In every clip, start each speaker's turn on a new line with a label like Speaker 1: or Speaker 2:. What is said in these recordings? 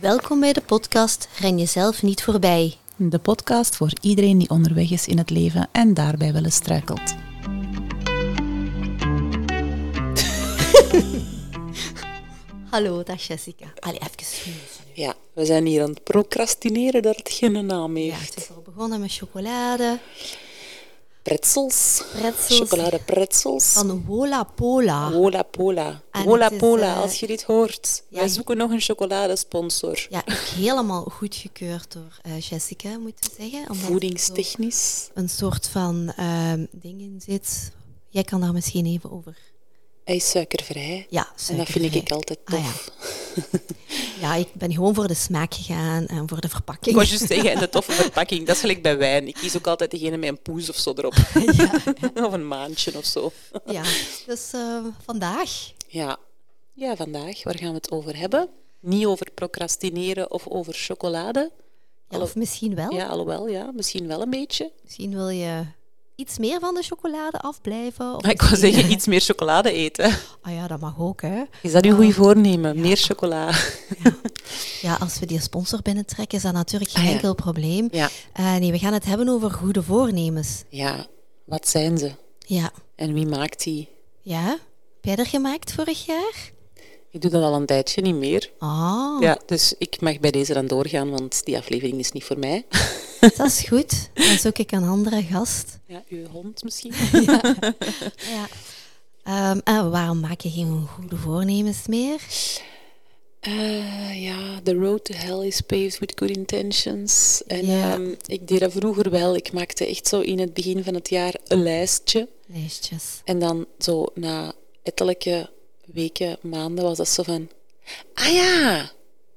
Speaker 1: Welkom bij de podcast Ren jezelf niet voorbij.
Speaker 2: De podcast voor iedereen die onderweg is in het leven en daarbij wel eens struikelt.
Speaker 1: Hallo, dag Jessica. Allee, even snoezen.
Speaker 3: Ja, we zijn hier aan het procrastineren dat het geen naam
Speaker 1: Ja,
Speaker 3: heeft.
Speaker 1: het is al begonnen met chocolade
Speaker 3: Pretzels.
Speaker 1: Pretzels.
Speaker 3: Chocoladepretzels.
Speaker 1: van Wola Pola.
Speaker 3: Wola Pola.
Speaker 1: En
Speaker 3: Wola
Speaker 1: het is,
Speaker 3: Pola,
Speaker 1: eh,
Speaker 3: als je dit hoort.
Speaker 1: ja,
Speaker 3: Wij
Speaker 1: je-
Speaker 3: zoeken nog een chocoladesponsor.
Speaker 1: Ja, ook helemaal goedgekeurd door eh, Jessica, moeten we zeggen. omdat er zo
Speaker 3: Voedingstechnisch.
Speaker 1: Een soort van ehm, ding in zit. Jij kan daar misschien even over.
Speaker 3: Hij is suikervrij.
Speaker 1: Ja,
Speaker 3: En dat vind ik,
Speaker 1: suikervrij.
Speaker 3: altijd
Speaker 1: Ah, ja.
Speaker 3: tof.
Speaker 1: Ja, ik ben gewoon voor de smaak gegaan en voor de verpakking.
Speaker 3: Ik was juist tegen en de toffe verpakking. Dat is gelijk bij wijn. Ik kies ook altijd degene met een poes of zo erop. of een maandje of zo.
Speaker 1: Ja, dus eh, vandaag.
Speaker 3: Ja. ja, vandaag, waar gaan we het over hebben? Niet over procrastineren of over chocolade.
Speaker 1: Ja, of misschien wel.
Speaker 3: Ja, alhoewel, ja, misschien wel een beetje.
Speaker 1: Misschien wil je iets meer van de chocolade afblijven. Of
Speaker 3: Ik wou
Speaker 1: misschien-
Speaker 3: zeggen, iets meer chocolade eten.
Speaker 1: Ah ja, dat mag ook, hè.
Speaker 3: Is dat uw goede voornemen? Meer chocola.
Speaker 1: Ja, als we die sponsor binnentrekken, is dat natuurlijk geen
Speaker 3: Ah, ja.
Speaker 1: enkel probleem.
Speaker 3: Ja.
Speaker 1: Eh, nee, we gaan het hebben over goede voornemens.
Speaker 3: Ja, wat zijn ze?
Speaker 1: Ja.
Speaker 3: En wie maakt die?
Speaker 1: Ja? Heb jij er gemaakt vorig jaar?
Speaker 3: Ik doe dat al een tijdje niet meer.
Speaker 1: Oh,
Speaker 3: Ja, dus ik mag bij deze dan doorgaan, want die aflevering is niet voor mij.
Speaker 1: dat is goed. Dan zoek ik een andere gast.
Speaker 3: Ja, uw hond misschien?
Speaker 1: Ja. Ehm, en waarom maak je geen goede voornemens meer?
Speaker 3: Eh, ja, the road to hell is paved with good intentions. En
Speaker 1: Ja.
Speaker 3: ehm, ik deed dat vroeger wel. Ik maakte echt zo in het begin van het jaar een lijstje.
Speaker 1: Lijstjes.
Speaker 3: En dan zo na ettelijke weken, maanden was dat zo van... Ah ja,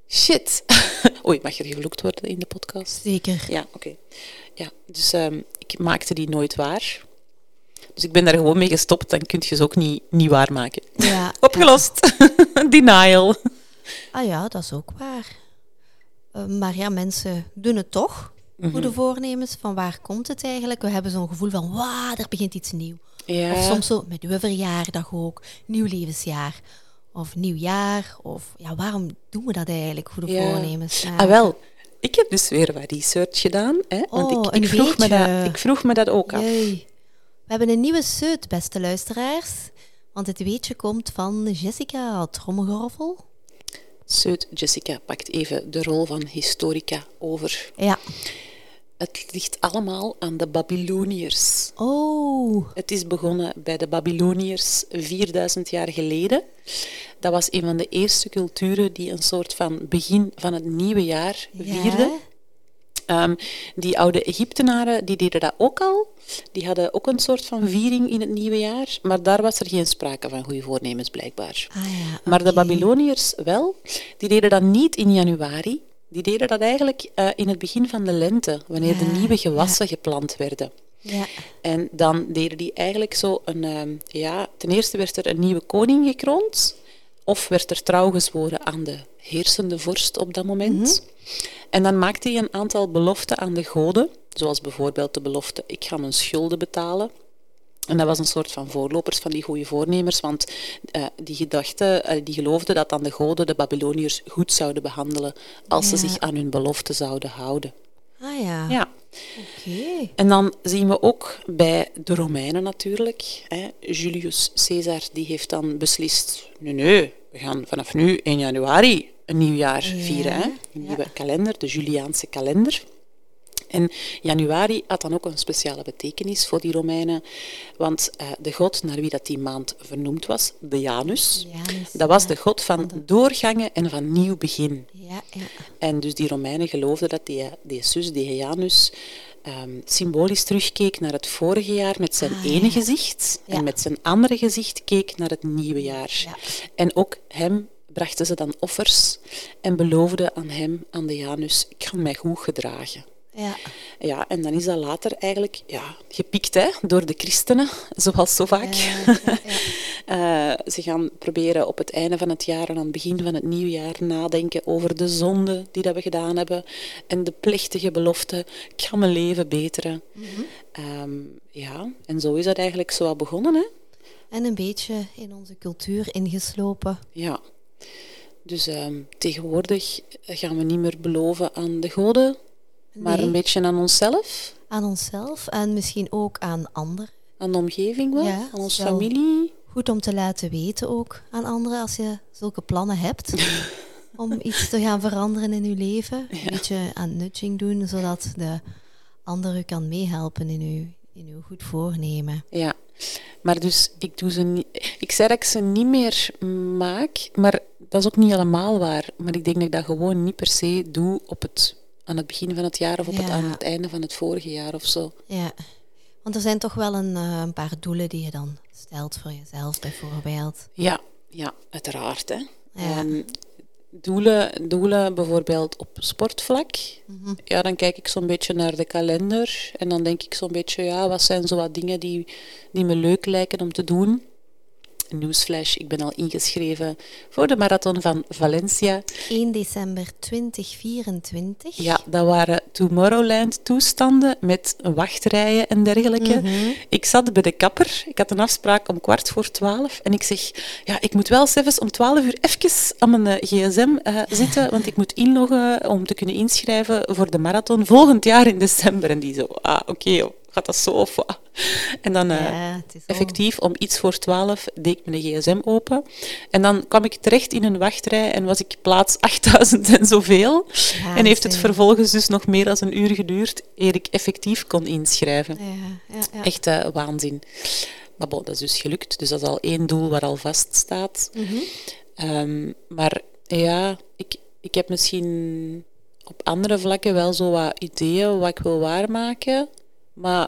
Speaker 3: shit. Oei, mag er gevloekt worden in de podcast?
Speaker 1: Zeker.
Speaker 3: Ja, oké. Ja, dus ehm, ik maakte die nooit waar. Dus ik ben daar gewoon mee gestopt. Dan kun je ze ook niet, niet waarmaken.
Speaker 1: Ja.
Speaker 3: Opgelost. Denial.
Speaker 1: Ah ja, dat is ook waar. Eh, maar ja, mensen doen het toch.
Speaker 3: Mhm.
Speaker 1: Goede voornemens, van waar komt het eigenlijk? We hebben zo'n gevoel van, wauw, er begint iets nieuw.
Speaker 3: Ja.
Speaker 1: Of soms zo met uw verjaardag ook, nieuw levensjaar. Of nieuwjaar, of ja, waarom doen we dat eigenlijk, goede
Speaker 3: Ja.
Speaker 1: voornemens? maken?
Speaker 3: Ah, wel. Ik heb dus weer wat research gedaan. Hè, want
Speaker 1: Oh,
Speaker 3: ik,
Speaker 1: een
Speaker 3: ik, vroeg me
Speaker 1: weetje.
Speaker 3: dat, ik vroeg me dat ook af.
Speaker 1: Jee. We hebben een nieuwe seut, beste luisteraars. Want het weetje komt van Jessica Trommelgorvel.
Speaker 3: Zuid Jessica pakt even de rol van historica over.
Speaker 1: Ja.
Speaker 3: Het ligt allemaal aan de Babyloniërs.
Speaker 1: Oh,
Speaker 3: Het is begonnen bij de Babyloniërs 4000 jaar geleden. Dat was een van de eerste culturen die een soort van begin van het nieuwe jaar
Speaker 1: ja.
Speaker 3: vierden. Ehm, die oude Egyptenaren die deden dat ook al. Die hadden ook een soort van viering in het nieuwe jaar. Maar daar was er geen sprake van goede voornemens blijkbaar.
Speaker 1: Ah ja,
Speaker 3: Maar de
Speaker 1: oké.
Speaker 3: Babyloniërs wel, die deden dat niet in januari. Die deden dat eigenlijk eh, in het begin van de lente, wanneer de nieuwe gewassen geplant werden.
Speaker 1: Ja.
Speaker 3: En dan deden die eigenlijk zo een... ehm, ja, ten eerste werd er een nieuwe koning gekroond. Of werd er trouw gezworen aan de heersende vorst op dat moment. En dan maakte hij een aantal beloften aan de goden. Zoals bijvoorbeeld de belofte, ik ga mijn schulden betalen. En dat was een soort van voorlopers van die goede voornemers, want eh, die gedachten, eh, die geloofden dat dan de goden de Babyloniërs goed zouden behandelen als ze zich aan hun beloften zouden houden.
Speaker 1: Ah ja,
Speaker 3: Ja,
Speaker 1: oké.
Speaker 3: en dan zien we ook bij de Romeinen natuurlijk. Hè. Julius Caesar die heeft dan beslist, nee, nee, we gaan vanaf nu 1 januari een nieuw jaar vieren. Hè. Een nieuwe kalender, de Juliaanse kalender. En januari had dan ook een speciale betekenis voor die Romeinen, want eh, de god naar wie dat die maand vernoemd was, de Janus,
Speaker 1: Janus,
Speaker 3: dat was de god van doorgangen en van nieuw begin.
Speaker 1: Ja, ja.
Speaker 3: En dus die Romeinen geloofden dat die, die zus, die Janus, ehm, symbolisch terugkeek naar het vorige jaar met zijn ene gezicht
Speaker 1: Ah, Ja.
Speaker 3: en met zijn andere gezicht keek naar het nieuwe jaar.
Speaker 1: Ja.
Speaker 3: En ook hem brachten ze dan offers en beloofden aan hem, aan de Janus, ik ga mij goed gedragen.
Speaker 1: ja.
Speaker 3: Ja, en dan is dat later eigenlijk ja, gepikt hè, door de christenen, zoals zo vaak. Eh, ze gaan proberen op het einde van het jaar en aan het begin van het nieuwe jaar nadenken over de zonden die dat we gedaan hebben en de plechtige belofte, ik ga mijn leven beteren.
Speaker 1: Mhm.
Speaker 3: Ehm, ja, en zo is dat eigenlijk zo wat begonnen. Hè?
Speaker 1: En een beetje in onze cultuur ingeslopen.
Speaker 3: Ja. Dus ehm, tegenwoordig gaan we niet meer beloven aan de goden, maar
Speaker 1: Nee.
Speaker 3: een beetje aan onszelf,
Speaker 1: Aan onszelf en misschien ook aan anderen.
Speaker 3: aan de omgeving wel,
Speaker 1: Ja,
Speaker 3: aan onze
Speaker 1: wel.
Speaker 3: familie.
Speaker 1: Goed om te laten weten ook aan anderen als je zulke plannen hebt. om iets te gaan veranderen in je leven. Een beetje aan nudging doen, zodat de ander u kan meehelpen in uw, in uw goed voornemen.
Speaker 3: Ja, maar dus ik doe ze niet. Ik zei dat ik ze niet meer maak, maar dat is ook niet helemaal waar. Maar ik denk dat ik dat gewoon niet per se doe op het, aan het begin van het jaar of op het,
Speaker 1: Ja.
Speaker 3: aan het einde van het vorige jaar of zo.
Speaker 1: Ja. Want er zijn toch wel een, eh, een paar doelen die je dan stelt voor jezelf, bijvoorbeeld.
Speaker 3: Ja, ja uiteraard. Hè.
Speaker 1: Ja.
Speaker 3: Ehm, doelen, doelen bijvoorbeeld op sportvlak.
Speaker 1: Mhm.
Speaker 3: Ja, dan kijk ik zo'n beetje naar de kalender. En dan denk ik zo'n beetje, ja, wat zijn zo wat dingen die, die me leuk lijken om te doen? Newsflash, ik ben al ingeschreven voor de marathon van Valencia.
Speaker 1: 1 december 2024.
Speaker 3: Ja, dat waren Tomorrowland-toestanden met wachtrijen en dergelijke. Ik zat bij de kapper. Ik had een afspraak om kwart voor twaalf. En ik zeg, ja, ik moet wel zelfs om twaalf uur even aan mijn eh, gsm eh, zitten, want ik moet inloggen om te kunnen inschrijven voor de marathon volgend jaar in december. En die zo, ah, oké, joh, gaat dat zo of wat? En dan... eh,
Speaker 1: Ja, het is al-
Speaker 3: Effectief, om iets voor twaalf deed ik mijn gsm open. En dan kwam ik terecht in een wachtrij en was ik plaats 8000 en zoveel. en heeft het
Speaker 1: zin.
Speaker 3: vervolgens dus nog meer dan een uur geduurd eer ik effectief kon inschrijven.
Speaker 1: Ja, ja, ja.
Speaker 3: Echt eh, waanzin. Maar bon, dat is dus gelukt. Dus dat is al één doel waar al vast staat.
Speaker 1: Mhm.
Speaker 3: Ehm, maar ja, ik, ik heb misschien op andere vlakken wel zo wat ideeën wat ik wil waarmaken. Maar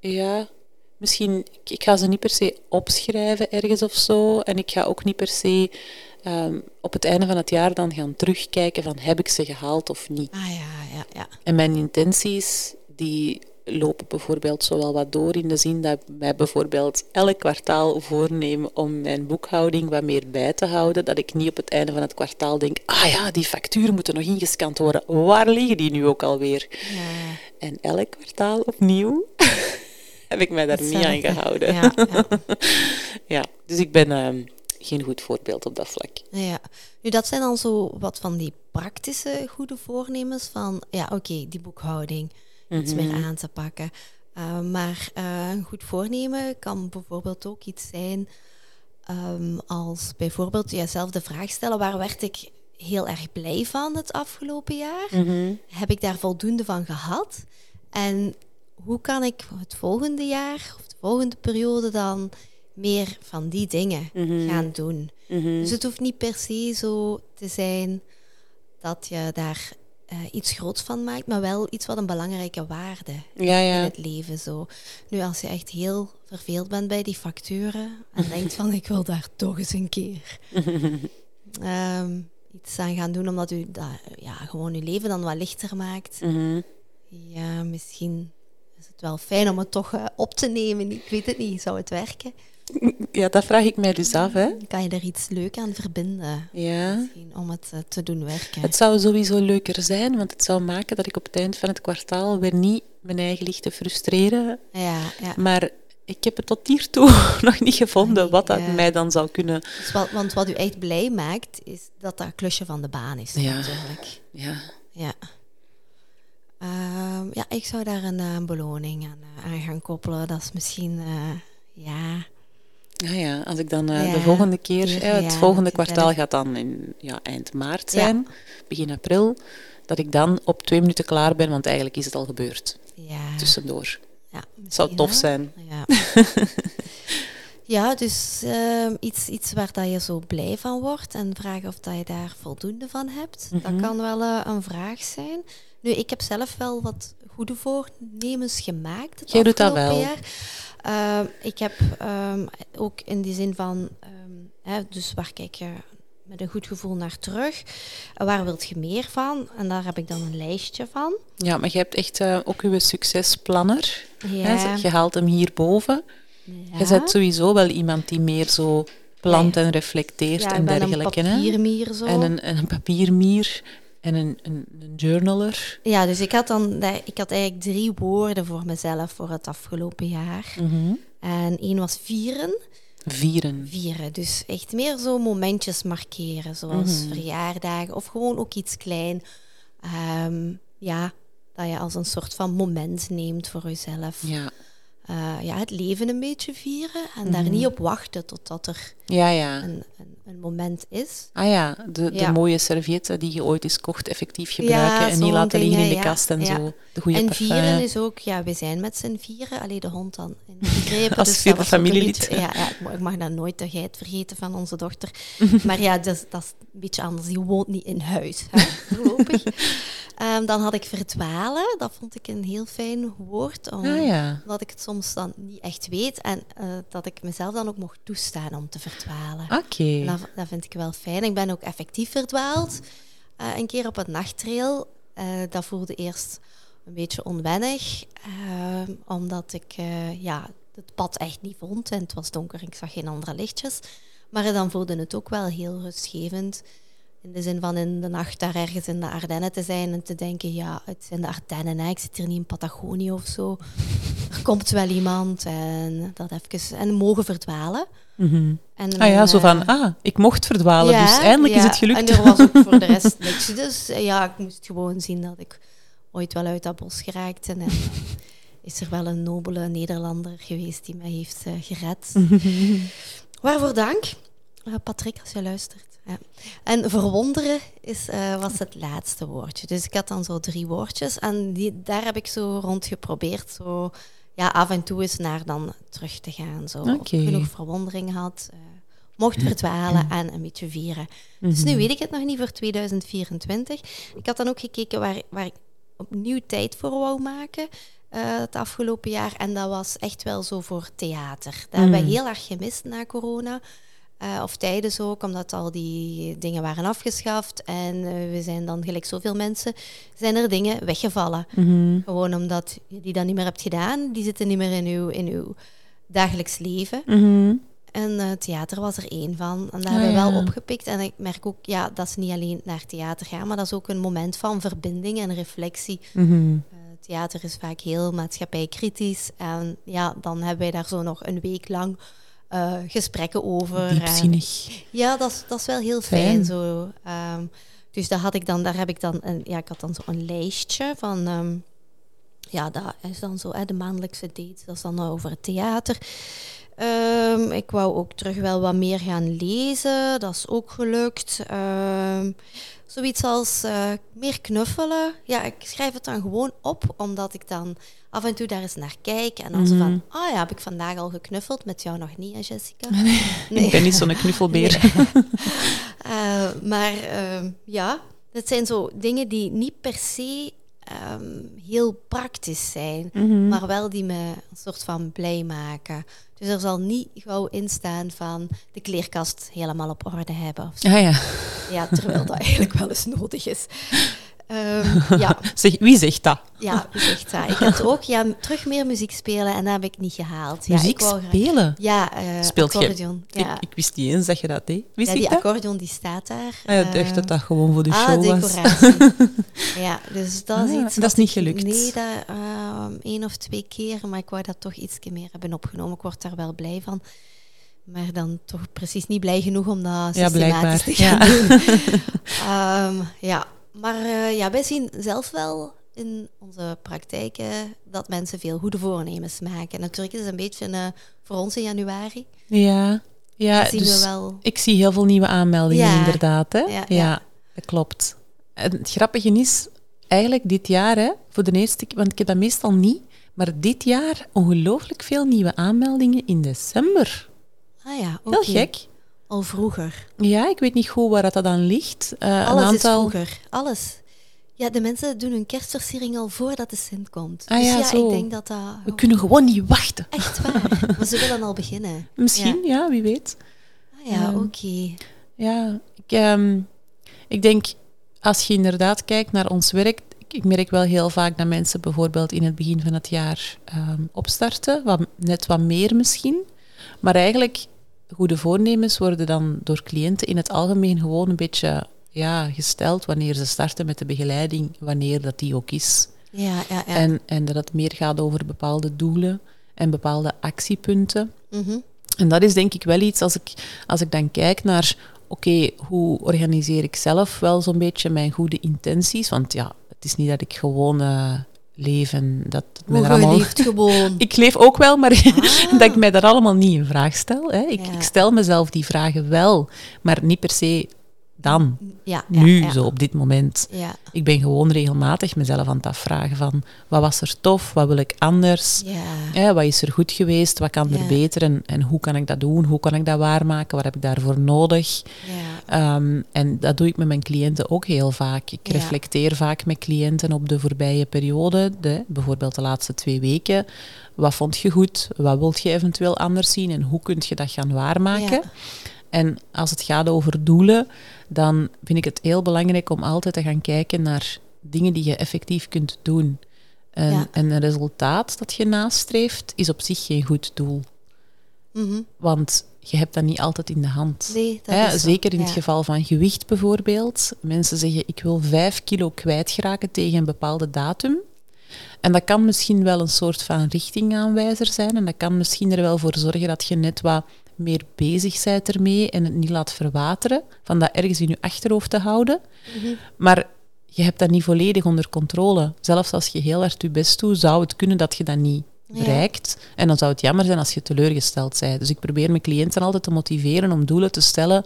Speaker 3: ja, misschien, ik, ik ga ze niet per se opschrijven ergens of zo. En ik ga ook niet per se ehm, op het einde van het jaar dan gaan terugkijken van heb ik ze gehaald of niet.
Speaker 1: Ah ja, ja, ja.
Speaker 3: En mijn intenties, die lopen bijvoorbeeld zowel wat door in de zin dat ik mij bijvoorbeeld elk kwartaal voorneem om mijn boekhouding wat meer bij te houden, dat ik niet op het einde van het kwartaal denk, ah ja, die facturen moeten nog ingescand worden, waar liggen die nu ook alweer?
Speaker 1: ja.
Speaker 3: En elk kwartaal opnieuw heb ik mij daar niet aan
Speaker 1: Hetzelfde.
Speaker 3: gehouden.
Speaker 1: eh, Ja, ja.
Speaker 3: Ja, dus ik ben ehm, geen goed voorbeeld op dat vlak.
Speaker 1: Ja, nu dat zijn dan zo wat van die praktische goede voornemens van, ja oké, die boekhouding, iets
Speaker 3: Mhm.
Speaker 1: meer aan te pakken. Uh, maar eh, een goed voornemen kan bijvoorbeeld ook iets zijn ehm, als bijvoorbeeld jezelf de vraag stellen, waar werd ik heel erg blij van het afgelopen jaar? Heb ik daar voldoende van gehad? En hoe kan ik het volgende jaar of de volgende periode dan meer van die dingen gaan doen? Dus het hoeft niet per se zo te zijn dat je daar eh, iets groots van maakt, maar wel iets wat een belangrijke waarde
Speaker 3: Ja,
Speaker 1: in
Speaker 3: ja.
Speaker 1: het leven zo. Nu, als je echt heel verveeld bent bij die facturen en denkt van ik wil daar toch eens een keer ehm, iets aan gaan doen, omdat u dat, ja, gewoon uw leven dan wat lichter maakt.
Speaker 3: Mhm.
Speaker 1: Ja, misschien is het wel fijn om het toch eh, op te nemen. Ik weet het niet, zou het werken?
Speaker 3: Ja, dat vraag ik mij dus af, hè.
Speaker 1: Kan je er iets leuk aan verbinden?
Speaker 3: Ja.
Speaker 1: Misschien om het eh, te doen werken.
Speaker 3: Het zou sowieso leuker zijn, want het zou maken dat ik op het eind van het kwartaal weer niet mijn eigen ligt te frustreren.
Speaker 1: Ja, ja.
Speaker 3: Maar ik heb het tot hiertoe nog niet gevonden wat dat
Speaker 1: Ja.
Speaker 3: mij dan zou kunnen.
Speaker 1: Dus wat, want wat u echt blij maakt, is dat dat klusje van de baan is.
Speaker 3: Ja.
Speaker 1: Natuurlijk.
Speaker 3: Ja,
Speaker 1: Ja. Ehm, ja, ik zou daar een, eh, een beloning aan, eh, aan gaan koppelen. Dat is misschien, eh, ja,
Speaker 3: ja, ja. als ik dan eh,
Speaker 1: Ja.
Speaker 3: de volgende keer,
Speaker 1: Ja,
Speaker 3: hè, het
Speaker 1: ja,
Speaker 3: volgende
Speaker 1: dat is
Speaker 3: kwartaal
Speaker 1: erg.
Speaker 3: gaat dan in, ja, eind maart
Speaker 1: Ja.
Speaker 3: zijn, begin april, dat ik dan op twee minuten klaar ben, want eigenlijk is het al gebeurd
Speaker 1: ja.
Speaker 3: tussendoor.
Speaker 1: ja
Speaker 3: Het Dus zou
Speaker 1: misschien
Speaker 3: tof
Speaker 1: wel.
Speaker 3: zijn.
Speaker 1: Nou Ja. ja, dus ehm, iets, iets waar dat je zo blij van wordt en vragen of dat je daar voldoende van hebt.
Speaker 3: Mhm.
Speaker 1: Dat kan wel eh, een vraag zijn. Nu, ik heb zelf wel wat goede voornemens gemaakt. het
Speaker 3: Jij doet dat
Speaker 1: afgelopen
Speaker 3: wel.
Speaker 1: Jaar. Ehm, ik heb ehm, ook in die zin van, ehm, hè, dus waar kijk je met een goed gevoel naar terug? En waar wilt je meer van? En daar heb ik dan een lijstje van.
Speaker 3: Ja, maar je hebt echt eh, ook uw succesplanner.
Speaker 1: Ja.
Speaker 3: Hè, je haalt hem hierboven. Je
Speaker 1: Ja.
Speaker 3: bent sowieso wel iemand die meer zo plant en reflecteert
Speaker 1: Ja,
Speaker 3: en
Speaker 1: ik ben
Speaker 3: dergelijke.
Speaker 1: Een
Speaker 3: hè?
Speaker 1: papiermier zo.
Speaker 3: En een, en een papiermier en een, een, een journaler.
Speaker 1: Ja, dus ik had dan daar- ik had eigenlijk Mhm. drie woorden voor mezelf voor het afgelopen jaar. En één was vieren.
Speaker 3: Vieren.
Speaker 1: vieren. Dus echt meer zo momentjes markeren, zoals verjaardagen of gewoon ook iets klein. Ehm, ja, dat je als een soort van moment neemt voor jezelf.
Speaker 3: Ja.
Speaker 1: Eh, ja, het leven een beetje vieren en daar niet op wachten totdat er
Speaker 3: Ja, ja.
Speaker 1: een, een, een moment is.
Speaker 3: Ah ja, de, de
Speaker 1: Ja.
Speaker 3: mooie servietten die je ooit eens kocht, effectief gebruiken en niet
Speaker 1: zo'n
Speaker 3: laten liggen in de
Speaker 1: dingen, ja,
Speaker 3: kast en
Speaker 1: ja.
Speaker 3: zo. De goede
Speaker 1: en
Speaker 3: parfum.
Speaker 1: vieren is ook, ja, we zijn met z'n vieren, alleen de hond dan inbegrepen.
Speaker 3: Als
Speaker 1: dat
Speaker 3: vierde
Speaker 1: was ook een
Speaker 3: familielid.
Speaker 1: beetje- Ja, ja, ik mag- ik mag dat nooit de geit vergeten van onze dochter. Maar ja, dat, is- dat is een beetje anders. Die woont niet in huis, hè, voorlopig. Ehm, dan had ik verdwalen. Dat vond ik een heel fijn woord. Om,
Speaker 3: Ah ja.
Speaker 1: Omdat ik het soms dan niet echt weet. En eh, dat ik mezelf dan ook mocht toestaan om te verdwalen.
Speaker 3: Oké.
Speaker 1: En Dat, dat vind ik wel fijn. Ik ben ook effectief verdwaald. Eh, een keer op een nachttrail. Eh, dat voelde eerst een beetje onwennig. eh, omdat ik eh, ja, het pad echt niet vond. En het was donker en ik zag geen andere lichtjes. Maar dan voelde het ook wel heel rustgevend. In de zin van in de nacht daar ergens in de Ardennen te zijn en te denken... Ja, het zijn de Ardennen, hè. ik zit hier niet in Patagonië of zo. Er komt wel iemand en dat even... En mogen verdwalen.
Speaker 3: Mhm.
Speaker 1: En
Speaker 3: Ah ja,
Speaker 1: mijn,
Speaker 3: zo
Speaker 1: eh,
Speaker 3: van, ah, ik mocht verdwalen, dus eindelijk is
Speaker 1: ja.
Speaker 3: het gelukt.
Speaker 1: En er was ook voor de rest niks. Dus eh, ja, ik moest gewoon zien dat ik ooit wel uit dat bos geraakte. En eh, is er wel een nobele Nederlander geweest die mij heeft eh, gered. Waarvoor dank, Eh, Patrick, als je luistert. Ja. En verwonderen is, eh, was het laatste woordje. Dus ik had dan zo drie woordjes. En die, daar heb ik zo rond geprobeerd. Zo, ja, af en toe eens naar dan terug te gaan. Zo, of ik
Speaker 3: Oké.
Speaker 1: genoeg verwondering had. eh, mocht verdwalen en een beetje vieren. Dus nu weet ik het nog niet voor 2024. Ik had dan ook gekeken waar, waar ik opnieuw tijd voor wou maken eh, het afgelopen jaar. En dat was echt wel zo voor theater. Dat hebben we heel erg gemist na corona. Eh, of tijdens ook, omdat al die dingen waren afgeschaft. En eh, we zijn dan, gelijk zoveel mensen, zijn er dingen weggevallen.
Speaker 3: Mhm.
Speaker 1: Gewoon omdat je die dan niet meer hebt gedaan. Die zitten niet meer in uw, in uw dagelijks leven.
Speaker 3: Mhm.
Speaker 1: En eh, theater was er één van. En dat
Speaker 3: Ah,
Speaker 1: hebben we wel
Speaker 3: ja.
Speaker 1: opgepikt. En ik merk ook ja, dat ze niet alleen naar theater gaan, maar dat is ook een moment van verbinding en reflectie.
Speaker 3: Mhm.
Speaker 1: Eh, theater is vaak heel maatschappijkritisch. En ja, dan hebben wij daar zo nog een week lang eh, gesprekken over. En-
Speaker 3: Diepzinnig.
Speaker 1: ja, dat is, dat is wel heel fijn.
Speaker 3: Fijn.
Speaker 1: zo. Ehm, dus dat had ik dan, daar heb ik dan, een, ja, ik had dan zo'n lijstje van, ehm, ja, dat is dan zo, hè, de maandelijkse dates, dat is dan over het theater. Ehm, ik wou ook terug wel wat meer gaan lezen, dat is ook gelukt. Ehm, zoiets als eh, meer knuffelen. Ja, ik schrijf het dan gewoon op, omdat ik dan af en toe daar eens naar kijk. En dan zo
Speaker 3: Mhm.
Speaker 1: van, ah ja, heb ik vandaag al geknuffeld, met jou nog niet, hè, Jessica? Nee.
Speaker 3: Ik ben niet zo'n knuffelbeer.
Speaker 1: Eh, maar ehm, ja, dat zijn zo dingen die niet per se ehm, heel praktisch zijn,
Speaker 3: Mhm.
Speaker 1: maar wel die me een soort van blij maken. Dus er zal niet gauw in staan van de kleerkast helemaal op orde hebben. of zo.
Speaker 3: Ah ja.
Speaker 1: Ja, terwijl dat eigenlijk wel eens nodig is. Ehm, ja,
Speaker 3: Zeg, wie zegt dat?
Speaker 1: ja, echt waar. Ik had ook ja, terug meer muziek spelen en dat heb ik niet gehaald. Ja,
Speaker 3: Muziek
Speaker 1: ik wou graag-
Speaker 3: spelen?
Speaker 1: Ja, eh
Speaker 3: Speelt je?
Speaker 1: accordeon. Ja.
Speaker 3: Ik, ik wist niet eens dat je dat deed. Wist
Speaker 1: Ja,
Speaker 3: ik
Speaker 1: die
Speaker 3: dat?
Speaker 1: accordeon die staat daar.
Speaker 3: Ah ja, ik dacht
Speaker 1: Eh,
Speaker 3: dat dat gewoon voor de
Speaker 1: ah,
Speaker 3: show was.
Speaker 1: decoratie. ja, dus dat is
Speaker 3: Ah,
Speaker 1: iets.
Speaker 3: dat
Speaker 1: wat
Speaker 3: is niet
Speaker 1: ik-
Speaker 3: gelukt.
Speaker 1: Nee, dat ehm, één of twee keer, maar ik wou dat toch iets meer hebben opgenomen. Ik word daar wel blij van. Maar dan toch precies niet blij genoeg om dat
Speaker 3: Ja, blijkbaar.
Speaker 1: systematisch te gaan
Speaker 3: Ja.
Speaker 1: doen. Ehm, ja, maar eh, ja, wij zien zelf wel in onze praktijken dat mensen veel goede voornemens maken. Natuurlijk is het een beetje eh, voor ons in januari.
Speaker 3: Ja, ja
Speaker 1: Dat zien
Speaker 3: dus
Speaker 1: we wel.
Speaker 3: ik zie heel veel nieuwe aanmeldingen
Speaker 1: Ja.
Speaker 3: inderdaad. Hè?
Speaker 1: Ja,
Speaker 3: Ja,
Speaker 1: ja.
Speaker 3: dat klopt. En het grappige is, eigenlijk dit jaar, hè, voor de eerste keer, want ik heb dat meestal niet, maar dit jaar ongelooflijk veel nieuwe aanmeldingen in december.
Speaker 1: Ah ja,
Speaker 3: Heel
Speaker 1: oké.
Speaker 3: gek.
Speaker 1: Al vroeger.
Speaker 3: Ja, ik weet niet goed waar dat aan ligt. Eh,
Speaker 1: Alles
Speaker 3: een aantal...
Speaker 1: is vroeger. Alles. Ja, de mensen doen hun kerstversiering al voordat de Sint komt.
Speaker 3: Ah
Speaker 1: dus
Speaker 3: ja,
Speaker 1: ja,
Speaker 3: zo.
Speaker 1: ik denk dat dat...
Speaker 3: We kunnen gewoon niet wachten.
Speaker 1: Echt waar. maar ze willen al beginnen.
Speaker 3: Misschien, ja, wie weet.
Speaker 1: Ah ja,
Speaker 3: Ja.
Speaker 1: oké.
Speaker 3: Ja, ik, ehm, ik denk als je inderdaad kijkt naar ons werk, ik- ik merk wel heel vaak dat mensen bijvoorbeeld in het begin van het jaar ehm, opstarten, wat, net wat meer misschien. Maar eigenlijk, goede voornemens worden dan door cliënten in het algemeen gewoon een beetje ja, gesteld wanneer ze starten met de begeleiding, wanneer dat die ook is.
Speaker 1: Ja, ja, ja.
Speaker 3: En, en dat het meer gaat over bepaalde doelen en bepaalde actiepunten.
Speaker 1: Mhm.
Speaker 3: En dat is denk ik wel iets als ik, als ik dan kijk naar, oké, hoe organiseer ik zelf wel zo'n beetje mijn goede intenties? Want ja, het is niet dat ik gewoon eh, leef en dat het mij
Speaker 1: Hoe
Speaker 3: er
Speaker 1: je
Speaker 3: allemaal...
Speaker 1: leeft gewoon.
Speaker 3: Ik leef ook wel, maar
Speaker 1: Ah.
Speaker 3: dat ik mij daar allemaal niet in vraag stel. Hè. Ik,
Speaker 1: Ja.
Speaker 3: ik stel mezelf die vragen wel, maar niet per se dan,
Speaker 1: ja, ja,
Speaker 3: nu,
Speaker 1: ja.
Speaker 3: zo op dit moment.
Speaker 1: Ja,
Speaker 3: Ik ben gewoon regelmatig mezelf aan het afvragen van, wat was er tof, wat wil ik anders?
Speaker 1: ja.
Speaker 3: Hè, wat is er goed geweest? Wat kan
Speaker 1: Ja.
Speaker 3: er beter? En, en hoe kan ik dat doen? Hoe kan ik dat waarmaken? Wat heb ik daarvoor nodig?
Speaker 1: ja.
Speaker 3: Ehm, en dat doe ik met mijn cliënten ook heel vaak. Ik
Speaker 1: Ja.
Speaker 3: reflecteer vaak met cliënten op de voorbije periode, de, bijvoorbeeld de laatste twee weken. Wat vond je goed? Wat wilt je eventueel anders zien? En hoe kun je dat gaan waarmaken?
Speaker 1: Ja.
Speaker 3: En als het gaat over doelen, dan vind ik het heel belangrijk om altijd te gaan kijken naar dingen die je effectief kunt doen. En,
Speaker 1: Ja.
Speaker 3: en een resultaat dat je nastreeft, is op zich geen goed doel.
Speaker 1: Mhm.
Speaker 3: Want je hebt dat niet altijd in de hand.
Speaker 1: Nee, dat
Speaker 3: Hè,
Speaker 1: is zo.
Speaker 3: zeker in
Speaker 1: Ja.
Speaker 3: het geval van gewicht bijvoorbeeld. Mensen zeggen, ik wil vijf kilo kwijtraken tegen een bepaalde datum. En dat kan misschien wel een soort van richtingaanwijzer zijn. En dat kan misschien er wel voor zorgen dat je net wat meer bezig bent ermee en het niet laat verwateren. Van dat ergens in je achterhoofd te houden.
Speaker 1: Mhm.
Speaker 3: Maar je hebt dat niet volledig onder controle. Zelfs als je heel hard je best doet, zou het kunnen dat je dat niet
Speaker 1: Ja.
Speaker 3: bereikt. En dan zou het jammer zijn als je teleurgesteld bent. Dus ik probeer mijn cliënten altijd te motiveren om doelen te stellen.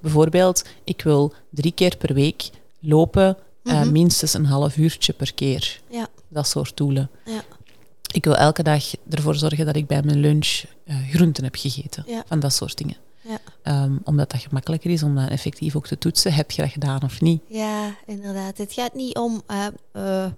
Speaker 3: Bijvoorbeeld, ik wil drie keer per week lopen, eh,
Speaker 1: Mhm.
Speaker 3: minstens een half uurtje per keer.
Speaker 1: Ja,
Speaker 3: Dat soort doelen.
Speaker 1: ja,
Speaker 3: Ik wil elke dag ervoor zorgen dat ik bij mijn lunch eh, groenten heb gegeten.
Speaker 1: Ja.
Speaker 3: Van dat soort dingen.
Speaker 1: ja.
Speaker 3: Ehm, omdat dat gemakkelijker is om dat effectief ook te toetsen. Heb je dat gedaan of niet?
Speaker 1: Ja, inderdaad. Het gaat niet om eh, eh,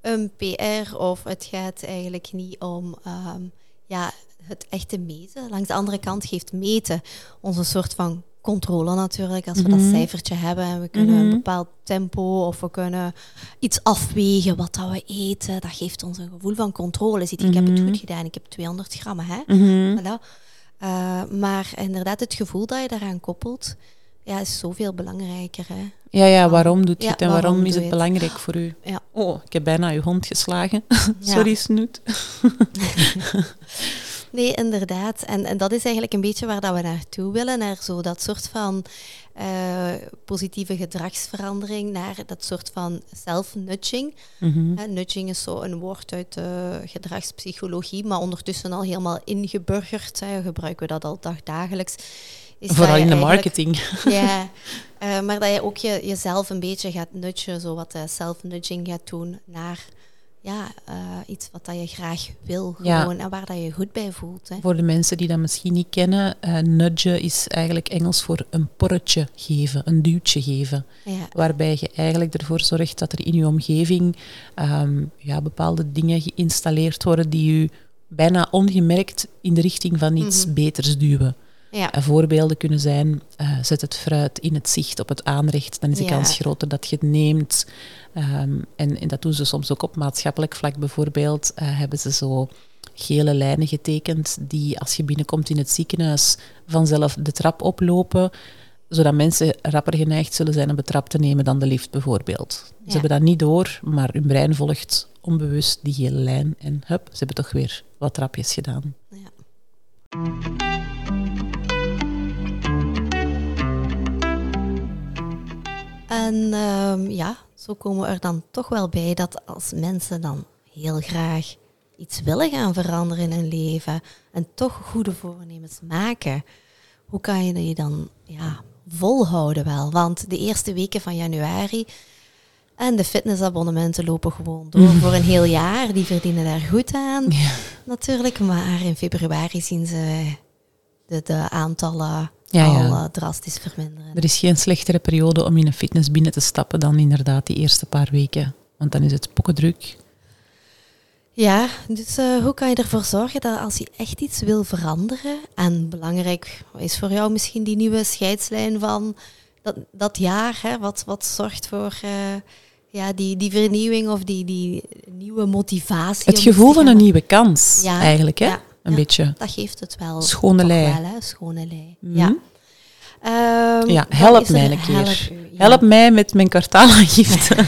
Speaker 1: een PR of het gaat eigenlijk niet om ehm, ja, het echte meten. Langs de andere kant geeft meten ons een soort van controle natuurlijk. Als we dat cijfertje hebben en we kunnen een bepaald tempo of we kunnen iets afwegen wat dat we eten, dat geeft ons een gevoel van controle. Ziet, ik heb het goed gedaan, ik heb 200 gram, hè? Voilà. Eh, maar inderdaad, het gevoel dat je daaraan koppelt, ja, is zoveel belangrijker. Hè?
Speaker 3: Ja, ja, waarom doet je
Speaker 1: Ja,
Speaker 3: het en
Speaker 1: waarom
Speaker 3: waarom, is
Speaker 1: doe
Speaker 3: het
Speaker 1: je het?
Speaker 3: belangrijk voor u?
Speaker 1: Ja.
Speaker 3: Oh, ik heb bijna uw hond geslagen.
Speaker 1: Ja.
Speaker 3: Sorry, Snoet.
Speaker 1: Nee, inderdaad. En, en dat is eigenlijk een beetje waar dat we naartoe willen. Naar zo dat soort van eh, positieve gedragsverandering. Naar dat soort van self-nudging.
Speaker 3: Mhm.
Speaker 1: Hè, nudging is zo een woord uit de gedragspsychologie. Maar ondertussen al helemaal ingeburgerd. Hè, gebruiken we dat al dagdagelijks. Is dat
Speaker 3: Vooral
Speaker 1: je
Speaker 3: in de
Speaker 1: eigenlijk-
Speaker 3: marketing.
Speaker 1: ja, eh, maar dat je ook je, jezelf een beetje gaat nudgen, zo wat eh, self-nudging gaat doen naar ja, eh, iets wat dat je graag wil
Speaker 3: Ja.
Speaker 1: gewoon, en waar dat je goed bij voelt. Hè.
Speaker 3: Voor de mensen die dat misschien niet kennen, eh nudgen is eigenlijk Engels voor een porretje geven, een duwtje geven.
Speaker 1: Ja.
Speaker 3: Waarbij je eigenlijk ervoor zorgt dat er in je omgeving ehm, ja, bepaalde dingen geïnstalleerd worden die je bijna ongemerkt in de richting van iets beters duwen.
Speaker 1: Ja.
Speaker 3: Eh, Voorbeelden kunnen zijn, eh, zet het fruit in het zicht op het aanrecht, dan is de
Speaker 1: Ja.
Speaker 3: kans groter dat je het neemt. Ehm, en, en dat doen ze soms ook op maatschappelijk vlak bijvoorbeeld. eh, hebben ze zo gele lijnen getekend die als je binnenkomt in het ziekenhuis vanzelf de trap oplopen, zodat mensen rapper geneigd zullen zijn om de trap te nemen dan de lift bijvoorbeeld.
Speaker 1: Ja.
Speaker 3: Ze hebben dat niet door, maar hun brein volgt onbewust die gele lijn en hup, ze hebben toch weer wat trapjes gedaan.
Speaker 1: Ja. En ehm, ja, zo komen we er dan toch wel bij dat als mensen dan heel graag iets willen gaan veranderen in hun leven en toch goede voornemens maken, hoe kan je die dan ja, volhouden wel? Want de eerste weken van januari en de fitnessabonnementen lopen gewoon door voor een heel jaar. Die verdienen daar goed aan natuurlijk, maar in februari zien ze de, de aantallen
Speaker 3: Ja,
Speaker 1: al
Speaker 3: ja.
Speaker 1: eh, drastisch verminderen.
Speaker 3: Er is geen slechtere periode om in een fitness binnen te stappen dan inderdaad die eerste paar weken. Want dan is het pokkendruk.
Speaker 1: Ja, dus eh, hoe kan je ervoor zorgen dat als je echt iets wil veranderen, en belangrijk is voor jou misschien die nieuwe scheidslijn van dat, dat jaar, hè, wat, wat zorgt voor eh, ja, die, die vernieuwing of die, die nieuwe motivatie?
Speaker 3: Het
Speaker 1: om iets
Speaker 3: gevoel
Speaker 1: te
Speaker 3: van
Speaker 1: gaan-
Speaker 3: een nieuwe kans,
Speaker 1: Ja,
Speaker 3: eigenlijk. Hè?
Speaker 1: ja,
Speaker 3: Een
Speaker 1: ja.
Speaker 3: beetje.
Speaker 1: Dat geeft het wel.
Speaker 3: Schone
Speaker 1: toch
Speaker 3: lei.
Speaker 1: Wel, hè? Schone lei.
Speaker 3: Mhm.
Speaker 1: Ja. Ehm,
Speaker 3: Ja,
Speaker 1: dan
Speaker 3: help
Speaker 1: is er
Speaker 3: mij een keer.
Speaker 1: Help u, ja.
Speaker 3: Help mij met mijn kwartaalaangifte.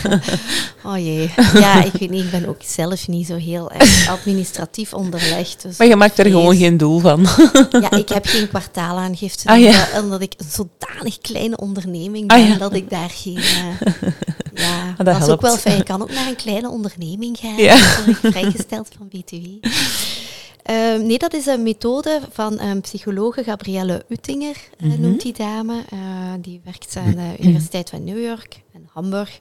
Speaker 1: Oh jee. Ja, ik weet niet, ik ben ook zelf niet zo heel erg administratief onderlegd. Dus
Speaker 3: maar je maakt er
Speaker 1: vrees-
Speaker 3: gewoon geen doel van.
Speaker 1: Ja, ik heb geen kwartaalaangifte.
Speaker 3: Ah, ja.
Speaker 1: omdat, omdat ik een zodanig kleine onderneming
Speaker 3: Ah,
Speaker 1: ben,
Speaker 3: ja. Ah,
Speaker 1: dat ik daar geen... eh, ja,
Speaker 3: Dat
Speaker 1: dat is ook
Speaker 3: helpt.
Speaker 1: wel fijn. Je kan ook naar een kleine onderneming gaan.
Speaker 3: Ja.
Speaker 1: Dan word ik vrijgesteld van BTW. Ehm, nee, dat is een methode van ehm psychologe Gabrielle Uttinger, eh,
Speaker 3: Mhm.
Speaker 1: noemt die dame. Eh, die werkt aan de Universiteit van New York en Hamburg.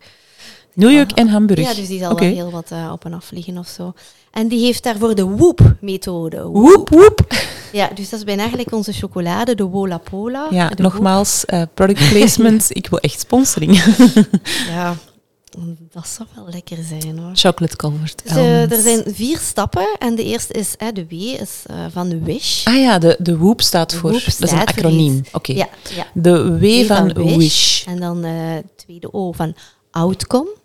Speaker 3: New York en Hamburg.
Speaker 1: Ja, dus die zal
Speaker 3: Oké.
Speaker 1: wel heel wat eh, op en af vliegen of zo. En die heeft daarvoor de WOOP-methode.
Speaker 3: Woep, woep.
Speaker 1: Ja, dus dat is bijna eigenlijk onze chocolade, de Wola Pola.
Speaker 3: Ja,
Speaker 1: de
Speaker 3: nogmaals, eh, product placement. Ik wil echt sponsoring.
Speaker 1: Woop. Ja, dat zou wel lekker zijn hoor.
Speaker 3: Chocolate covered
Speaker 1: Dus, eh,
Speaker 3: almonds.
Speaker 1: er zijn vier stappen en de eerste is, hè, de W is eh, van wish.
Speaker 3: Ah ja, de, de WOOP staat voor...
Speaker 1: Woop
Speaker 3: dat is een
Speaker 1: staat voor
Speaker 3: acroniem.
Speaker 1: iets.
Speaker 3: Oké.
Speaker 1: Ja, ja.
Speaker 3: De W van, wish.
Speaker 1: En dan eh tweede O van outcome.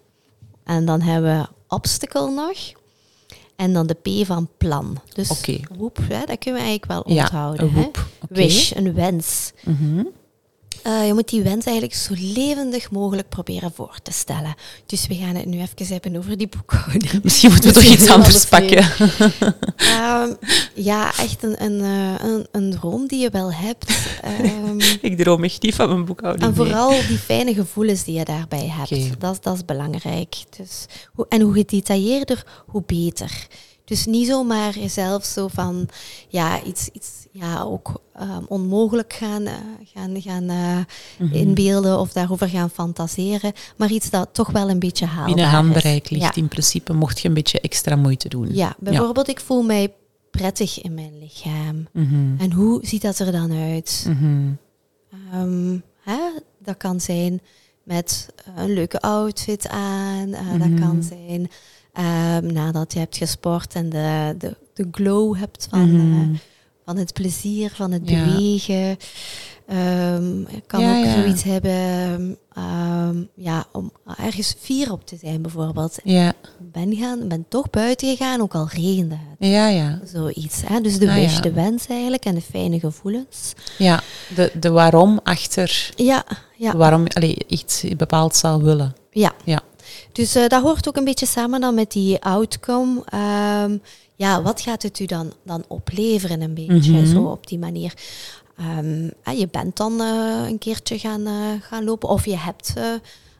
Speaker 1: En dan hebben we obstacle nog. En dan de P van plan. Dus
Speaker 3: Oké.
Speaker 1: woep, hè, dat kunnen we eigenlijk wel
Speaker 3: Ja,
Speaker 1: onthouden.
Speaker 3: een
Speaker 1: hè.
Speaker 3: woep. Oké. Mhm.
Speaker 1: Wish, een wens. Eh, je moet die wens eigenlijk zo levendig mogelijk proberen voor te stellen. Dus we gaan het nu even hebben over die boekhouding.
Speaker 3: Misschien moeten we toch iets
Speaker 1: Misschien
Speaker 3: anders
Speaker 1: heel anders
Speaker 3: pakken.
Speaker 1: Ehm, ja, echt een, een, eh, een, een droom die je wel hebt. Ehm,
Speaker 3: Ik droom echt niet van mijn boekhouding.
Speaker 1: En
Speaker 3: nee.
Speaker 1: vooral die fijne gevoelens die je daarbij hebt.
Speaker 3: Oké.
Speaker 1: Dat, is- dat is belangrijk. Dus, hoe, en hoe gedetailleerder, hoe beter. Dus niet zomaar jezelf zo van ja, iets, iets ja, ook ehm, onmogelijk gaan, eh, gaan, gaan eh,
Speaker 3: Mhm.
Speaker 1: inbeelden of daarover gaan fantaseren. Maar iets dat toch wel een beetje haalbaar
Speaker 3: Binnen handbereik
Speaker 1: is.
Speaker 3: ligt
Speaker 1: Ja.
Speaker 3: in principe, mocht je een beetje extra moeite doen.
Speaker 1: Ja, bijvoorbeeld ik voel mij prettig in mijn lichaam.
Speaker 3: Mhm,
Speaker 1: En hoe ziet dat er dan uit?
Speaker 3: mhm.
Speaker 1: Ehm, hè? Dat kan zijn met eh, een leuke outfit aan. eh,
Speaker 3: Mhm.
Speaker 1: Dat kan zijn ehm, nadat je hebt gesport en de, de, de glow hebt van,
Speaker 3: Mhm.
Speaker 1: eh, van het plezier, van het
Speaker 3: Ja.
Speaker 1: bewegen. Ehm, je kan
Speaker 3: Ja,
Speaker 1: ook
Speaker 3: ja.
Speaker 1: zoiets hebben ehm, ja, om ergens fier op te zijn bijvoorbeeld.
Speaker 3: Ja,
Speaker 1: Ik ben, gaan, ben toch buiten gegaan, ook al regende het.
Speaker 3: ja, ja.
Speaker 1: Zoiets. Hè? Dus de
Speaker 3: Ah,
Speaker 1: wish,
Speaker 3: ja.
Speaker 1: de wens eigenlijk en de fijne gevoelens.
Speaker 3: ja. De, de waarom achter
Speaker 1: Ja, ja.
Speaker 3: waarom allee, iets bepaald zou willen.
Speaker 1: Ja.
Speaker 3: Ja.
Speaker 1: Dus eh, dat hoort ook een beetje samen dan met die outcome. Ehm, ja, wat gaat het u dan, dan opleveren een beetje,
Speaker 3: Mhm.
Speaker 1: zo op die manier? Ehm, ah, je bent dan eh, een keertje gaan, eh, gaan lopen of je hebt eh,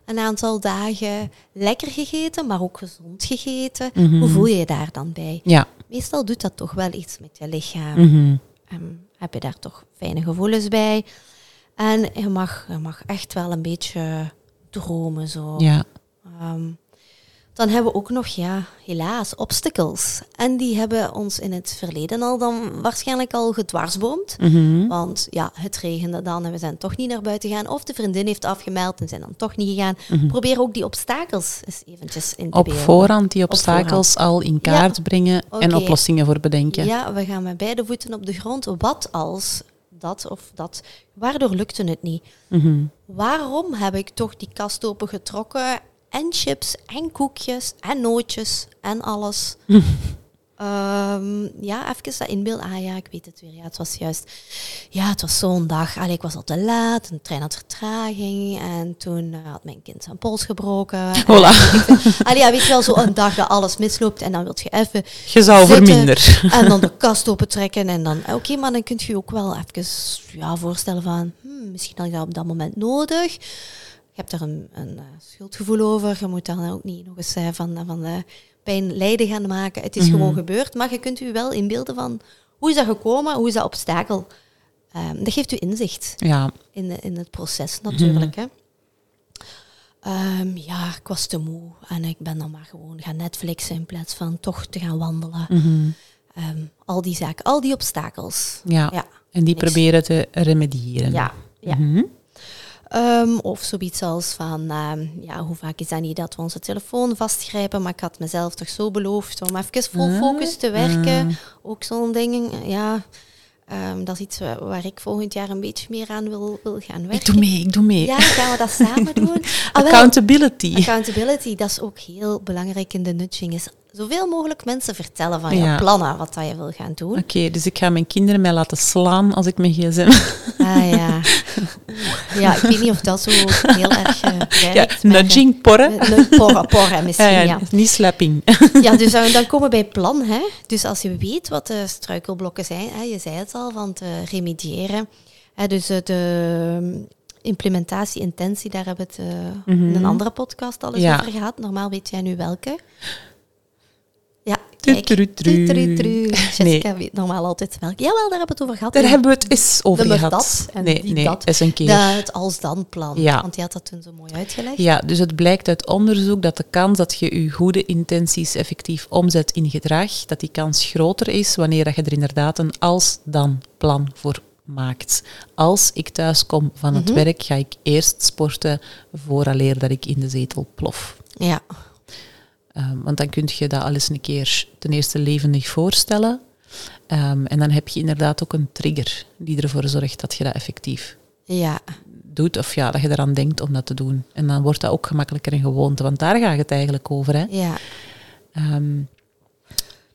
Speaker 1: een aantal dagen lekker gegeten, maar ook gezond gegeten.
Speaker 3: Mhm.
Speaker 1: Hoe voel je je daar dan bij?
Speaker 3: Ja.
Speaker 1: Meestal doet dat toch wel iets met je lichaam.
Speaker 3: mhm.
Speaker 1: Ehm, heb je daar toch fijne gevoelens bij? En je mag, je mag echt wel een beetje dromen zo.
Speaker 3: Ja.
Speaker 1: Ehm, dan hebben we ook nog, ja, helaas, obstacles. En die hebben ons in het verleden al dan waarschijnlijk al gedwarsboomd.
Speaker 3: mhm.
Speaker 1: Want ja, het regende dan en we zijn toch niet naar buiten gegaan. Of de vriendin heeft afgemeld en zijn dan toch niet gegaan. Probeer ook die obstakels eens eventjes in te
Speaker 3: Mhm. Op
Speaker 1: beelden.
Speaker 3: voorhand die
Speaker 1: Op
Speaker 3: obstakels al in kaart brengen en
Speaker 1: Oké.
Speaker 3: oplossingen voor bedenken.
Speaker 1: Ja, we gaan met beide voeten op de grond. Wat als dat of dat? Waardoor lukte het niet?
Speaker 3: Mhm.
Speaker 1: Waarom heb ik toch die kast opengetrokken? En chips, en koekjes, en nootjes, en alles. Ehm, ja, even dat inbeeld. Ah ja, ik weet het weer. Ja, het was juist... Ja, het was zo'n dag. Allee, ik was al te laat. Een trein had vertraging. En toen eh, had mijn kind zijn pols gebroken.
Speaker 3: Voilà,
Speaker 1: Allee, ja, weet je wel, zo'n dag dat alles misloopt. En dan wil je even
Speaker 3: je zou
Speaker 1: Zitten.
Speaker 3: verminderen.
Speaker 1: en dan de kast opentrekken en dan... eh, Oké, maar dan kunt je ook wel even ja, voorstellen van... hmm, misschien had ik dat op dat moment nodig. Je hebt daar een, een eh, schuldgevoel over. Je moet daar ook niet nog eens eh, van, van eh, pijn lijden gaan maken. Het is gewoon gebeurd. Maar je kunt u wel inbeelden van... Hoe is dat gekomen? Hoe is dat obstakel? Ehm, dat geeft u inzicht
Speaker 3: Ja,
Speaker 1: in, de- in het proces natuurlijk. Hè. Ehm, ja, ik was te moe en ik ben dan maar gewoon gaan Netflixen in plaats van toch te gaan wandelen. Ehm, al die zaken, al die obstakels.
Speaker 3: Mhm. ja.
Speaker 1: Ja,
Speaker 3: En die
Speaker 1: niks.
Speaker 3: proberen te remediëren.
Speaker 1: ja. ja.
Speaker 3: Mhm.
Speaker 1: Ehm, of zoiets als van, ehm, ja, hoe vaak is dat niet dat we onze telefoon vastgrijpen, maar ik had mezelf toch zo beloofd om even vol
Speaker 3: Ah,
Speaker 1: focus te werken. Ook zo'n ding, eh, ja. Ehm, dat is iets wa- waar ik volgend jaar een beetje meer aan wil, wil gaan werken.
Speaker 3: Ik doe mee, ik doe mee.
Speaker 1: Ja, gaan we dat samen doen? Ah, wel,
Speaker 3: Accountability.
Speaker 1: Accountability, dat is ook heel belangrijk in de nudging. Is zoveel mogelijk mensen vertellen van
Speaker 3: Ja.
Speaker 1: je plannen, wat dat je wil gaan doen.
Speaker 3: Oké, dus ik ga mijn kinderen mij laten slaan als ik mijn gsm...
Speaker 1: Ah ja. Ja, ik weet niet of dat zo heel erg eh,
Speaker 3: Ja,
Speaker 1: werkt. maar, eh,
Speaker 3: nudging, porren.
Speaker 1: eh, Porren, porren misschien,
Speaker 3: Ja,
Speaker 1: ja.
Speaker 3: ja,
Speaker 1: ja.
Speaker 3: niet slapping.
Speaker 1: dus dan, dan komen we bij plan. Hè? Dus als je weet wat de struikelblokken zijn, hè, je zei het al, van te remediëren. Hè, dus eh, de implementatie, intentie, daar hebben we het eh, in een andere podcast al eens
Speaker 3: Mhm. Ja.
Speaker 1: over gehad. Normaal weet jij nu welke. Ja,
Speaker 3: Tru,
Speaker 1: kijk.
Speaker 3: tru, tru.
Speaker 1: Tru, tru, tru. Jessica
Speaker 3: Nee.
Speaker 1: weet normaal altijd welke. Jawel, daar hebben we het over gehad.
Speaker 3: Daar
Speaker 1: in-
Speaker 3: hebben we het eens over
Speaker 1: nummer
Speaker 3: gehad.
Speaker 1: dat en
Speaker 3: nee,
Speaker 1: die
Speaker 3: nee,
Speaker 1: dat.
Speaker 3: eens een keer.
Speaker 1: de- het als-dan-plan.
Speaker 3: Ja.
Speaker 1: Want die had dat toen zo mooi uitgelegd.
Speaker 3: Ja, dus het blijkt uit onderzoek dat de kans dat je je goede intenties effectief omzet in gedrag, dat die kans groter is wanneer dat je er inderdaad een als-dan plan voor maakt. Als ik thuis kom van het werk, ga ik eerst sporten vooraleer dat ik in de zetel plof.
Speaker 1: Ja.
Speaker 3: Ehm, want dan kun je dat al eens een keer ten eerste levendig voorstellen. Ehm, en dan heb je inderdaad ook een trigger die ervoor zorgt dat je dat effectief
Speaker 1: Ja.
Speaker 3: doet. Of ja, dat je eraan denkt om dat te doen. En dan wordt dat ook gemakkelijker een gewoonte. Want daar gaat het eigenlijk over. Hè?
Speaker 1: ja.
Speaker 3: Ehm,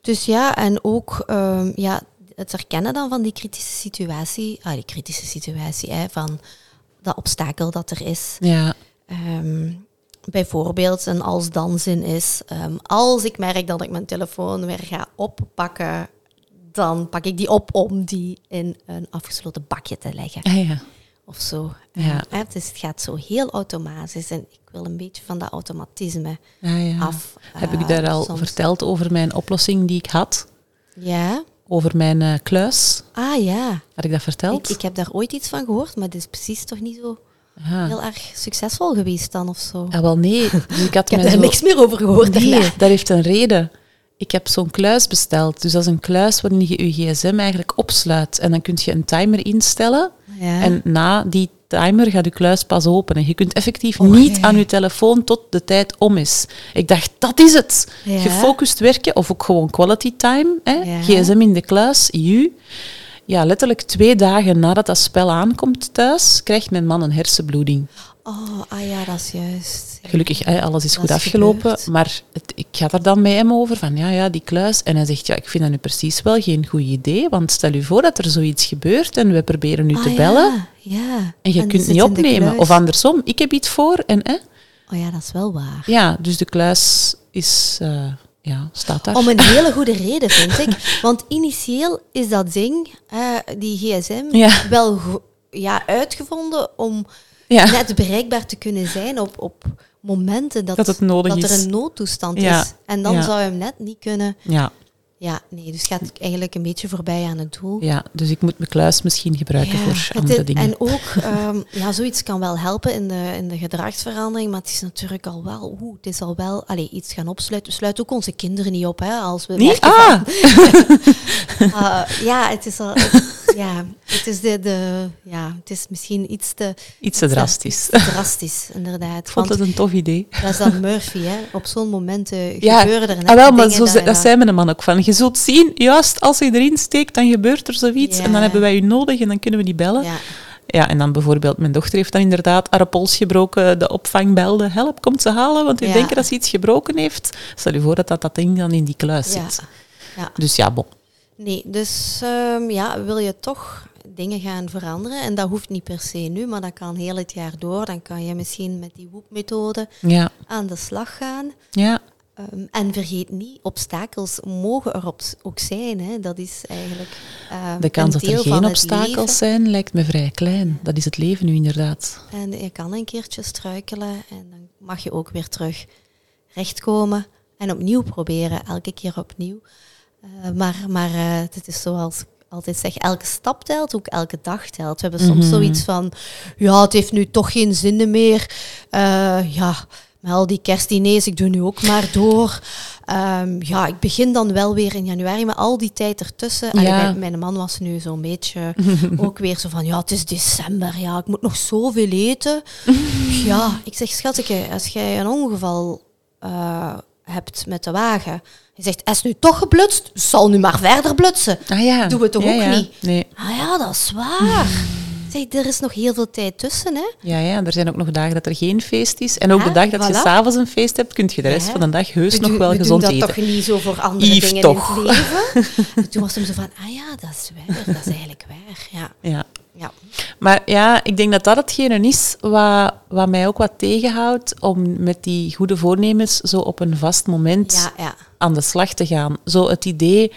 Speaker 1: Dus ja, en ook ehm, ja, het herkennen dan van die kritische situatie. Ah, die kritische situatie, hè, van dat obstakel dat er is.
Speaker 3: ja,
Speaker 1: Ehm, bijvoorbeeld een als-dan zin is. ehm, als ik merk dat ik mijn telefoon weer ga oppakken, dan pak ik die op om die in een afgesloten bakje te leggen.
Speaker 3: ah, ja.
Speaker 1: of zo.
Speaker 3: Ja.
Speaker 1: Eh, dus het gaat zo heel automatisch. En ik wil een beetje van dat automatisme
Speaker 3: Ah, ja.
Speaker 1: af.
Speaker 3: Heb ik
Speaker 1: eh,
Speaker 3: daar al
Speaker 1: soms.
Speaker 3: verteld over mijn oplossing die ik had?
Speaker 1: Ja.
Speaker 3: Over mijn eh, kluis?
Speaker 1: Ah ja.
Speaker 3: Had ik dat
Speaker 1: Ik,
Speaker 3: verteld?
Speaker 1: ik heb daar ooit iets van gehoord, maar het is precies toch niet zo
Speaker 3: Ah.
Speaker 1: heel erg succesvol geweest dan of zo.
Speaker 3: Ah, wel nee. Dus
Speaker 1: ik
Speaker 3: ik had
Speaker 1: heb
Speaker 3: mij
Speaker 1: daar
Speaker 3: zo-
Speaker 1: niks meer over gehoord daarna.
Speaker 3: Nee, dat heeft een reden. Ik heb zo'n kluis besteld. Dus dat is een kluis waarin je je gsm eigenlijk opsluit. En dan kun je een timer instellen.
Speaker 1: Ja.
Speaker 3: En na die timer gaat je kluis pas open. En je kunt effectief
Speaker 1: Oh,
Speaker 3: niet
Speaker 1: ja.
Speaker 3: aan je telefoon tot de tijd om is. Ik dacht, dat is het.
Speaker 1: Ja.
Speaker 3: Gefocust werken of ook gewoon quality time. Hè?
Speaker 1: Ja.
Speaker 3: Gsm in de kluis, you. Ja, letterlijk twee dagen nadat dat spel aankomt thuis, krijgt mijn man een hersenbloeding.
Speaker 1: Oh, ah ja, dat is juist.
Speaker 3: Gelukkig, hè, alles is
Speaker 1: Dat
Speaker 3: goed
Speaker 1: is
Speaker 3: afgelopen.
Speaker 1: gebeurd.
Speaker 3: Maar het- ik ga daar dan met hem over, van ja, ja, die kluis. En hij zegt, ja, ik vind dat nu precies wel geen goed idee. Want stel u voor dat er zoiets gebeurt en we proberen nu
Speaker 1: Ah,
Speaker 3: te
Speaker 1: ja,
Speaker 3: bellen.
Speaker 1: Ja.
Speaker 3: En je
Speaker 1: die
Speaker 3: kunt
Speaker 1: zit
Speaker 3: niet
Speaker 1: in de
Speaker 3: opnemen.
Speaker 1: kluis.
Speaker 3: Of andersom, ik heb iets voor. En, hè?
Speaker 1: Oh ja, dat is wel waar.
Speaker 3: Ja, dus de kluis is, eh, ja, staat daar.
Speaker 1: Om een hele goede reden, vind ik. Want initieel is dat ding, eh, die gsm,
Speaker 3: Ja.
Speaker 1: wel go- ja, uitgevonden om
Speaker 3: ja.
Speaker 1: net bereikbaar te kunnen zijn op, op momenten dat,
Speaker 3: Dat het nodig
Speaker 1: dat
Speaker 3: is.
Speaker 1: er een noodtoestand
Speaker 3: Ja.
Speaker 1: is. En dan
Speaker 3: Ja.
Speaker 1: zou je hem net niet kunnen.
Speaker 3: Ja,
Speaker 1: Ja, nee, dus gaat het eigenlijk een beetje voorbij aan het doel.
Speaker 3: ja, dus ik moet mijn kluis misschien gebruiken
Speaker 1: Ja,
Speaker 3: voor
Speaker 1: het
Speaker 3: andere
Speaker 1: is-
Speaker 3: dingen.
Speaker 1: En ook, ehm, ja, zoiets kan wel helpen in de, in de gedragsverandering, maar het is natuurlijk al wel, oeh, het is al wel allee, iets gaan opsluiten. We sluiten ook onze kinderen niet op, hè, als we
Speaker 3: Nee?
Speaker 1: merken
Speaker 3: Ah,
Speaker 1: Ah, ja, het is al. het- ja, het is, de, de, ja, het is misschien iets te
Speaker 3: iets te drastisch.
Speaker 1: te drastisch, inderdaad.
Speaker 3: Ik vond het een tof idee.
Speaker 1: dat is dan Murphy, hè? Op zo'n moment eh,
Speaker 3: Ja,
Speaker 1: gebeuren er net
Speaker 3: Ah, wel, maar
Speaker 1: dingen
Speaker 3: zo, ze-
Speaker 1: je
Speaker 3: dat zei mijn man ook van. Je zult zien, juist als je erin steekt, dan gebeurt er zoiets.
Speaker 1: Ja.
Speaker 3: En dan hebben wij u nodig en dan kunnen we die bellen. Ja.
Speaker 1: Ja,
Speaker 3: en dan bijvoorbeeld, mijn dochter heeft dan inderdaad haar pols gebroken. De opvang belde, help, komt ze halen. Want we
Speaker 1: Ja.
Speaker 3: denken dat ze iets gebroken heeft. Stel je voor dat dat, dat ding dan in die kluis
Speaker 1: ja,
Speaker 3: zit.
Speaker 1: ja.
Speaker 3: Dus ja, bon.
Speaker 1: Nee, dus ehm, ja, wil je toch dingen gaan veranderen, en dat hoeft niet per se nu, maar dat kan heel het jaar door, dan kan je misschien met die WOEP-methode
Speaker 3: Ja,
Speaker 1: aan de slag gaan.
Speaker 3: ja.
Speaker 1: Ehm, en vergeet niet, obstakels mogen er op, ook zijn. Hè. Dat is eigenlijk ehm,
Speaker 3: De kans
Speaker 1: een
Speaker 3: dat er
Speaker 1: deel van
Speaker 3: geen
Speaker 1: het
Speaker 3: obstakels
Speaker 1: leven.
Speaker 3: zijn lijkt me vrij klein. Dat is het leven nu inderdaad.
Speaker 1: En je kan een keertje struikelen en dan mag je ook weer terug rechtkomen en opnieuw proberen, elke keer opnieuw. Eh, maar maar eh, het is zoals ik altijd zeg, elke stap telt, ook elke dag telt. We hebben soms zoiets van, ja, het heeft nu toch geen zin meer. Eh, ja, met al die kerstdiners, ik doe nu ook maar door. Ehm, ja, ik begin dan wel weer in januari, maar al die tijd ertussen. Allee,
Speaker 3: Ja.
Speaker 1: mijn- mijn man was nu zo'n beetje ook weer zo van, ja, het is december, ja, ik moet nog zoveel eten. ja, ik zeg, schatje, als jij een ongeval eh, hebt met de wagen, hij zegt, is nu toch geblutst? Zal nu maar verder blutsen.
Speaker 3: Ah ja.
Speaker 1: Doen we toch
Speaker 3: Ja,
Speaker 1: ook
Speaker 3: ja.
Speaker 1: niet?
Speaker 3: Nee. Hmm.
Speaker 1: Ah ja, dat is waar. Zeg, er is nog heel veel tijd tussen, hè?
Speaker 3: Ja, ja, en er zijn ook nog dagen dat er geen feest is. En ook
Speaker 1: Ja,
Speaker 3: de dag dat je
Speaker 1: voilà.
Speaker 3: s'avonds een feest hebt, kun je de rest
Speaker 1: Ja.
Speaker 3: van de dag heus
Speaker 1: We
Speaker 3: nog
Speaker 1: doen-
Speaker 3: wel
Speaker 1: we
Speaker 3: gezond
Speaker 1: doen dat
Speaker 3: eten.
Speaker 1: toch niet zo voor andere
Speaker 3: Yves
Speaker 1: dingen
Speaker 3: toch.
Speaker 1: in het leven? Toen was hem zo van, ah ja, dat is waar, dat is eigenlijk waar. Ja,
Speaker 3: Ja.
Speaker 1: ja.
Speaker 3: Maar ja, ik denk dat dat hetgene is wat, wat mij ook wat tegenhoudt om met die goede voornemens zo op een vast moment
Speaker 1: ja, ja.
Speaker 3: aan de slag te gaan. Zo het idee,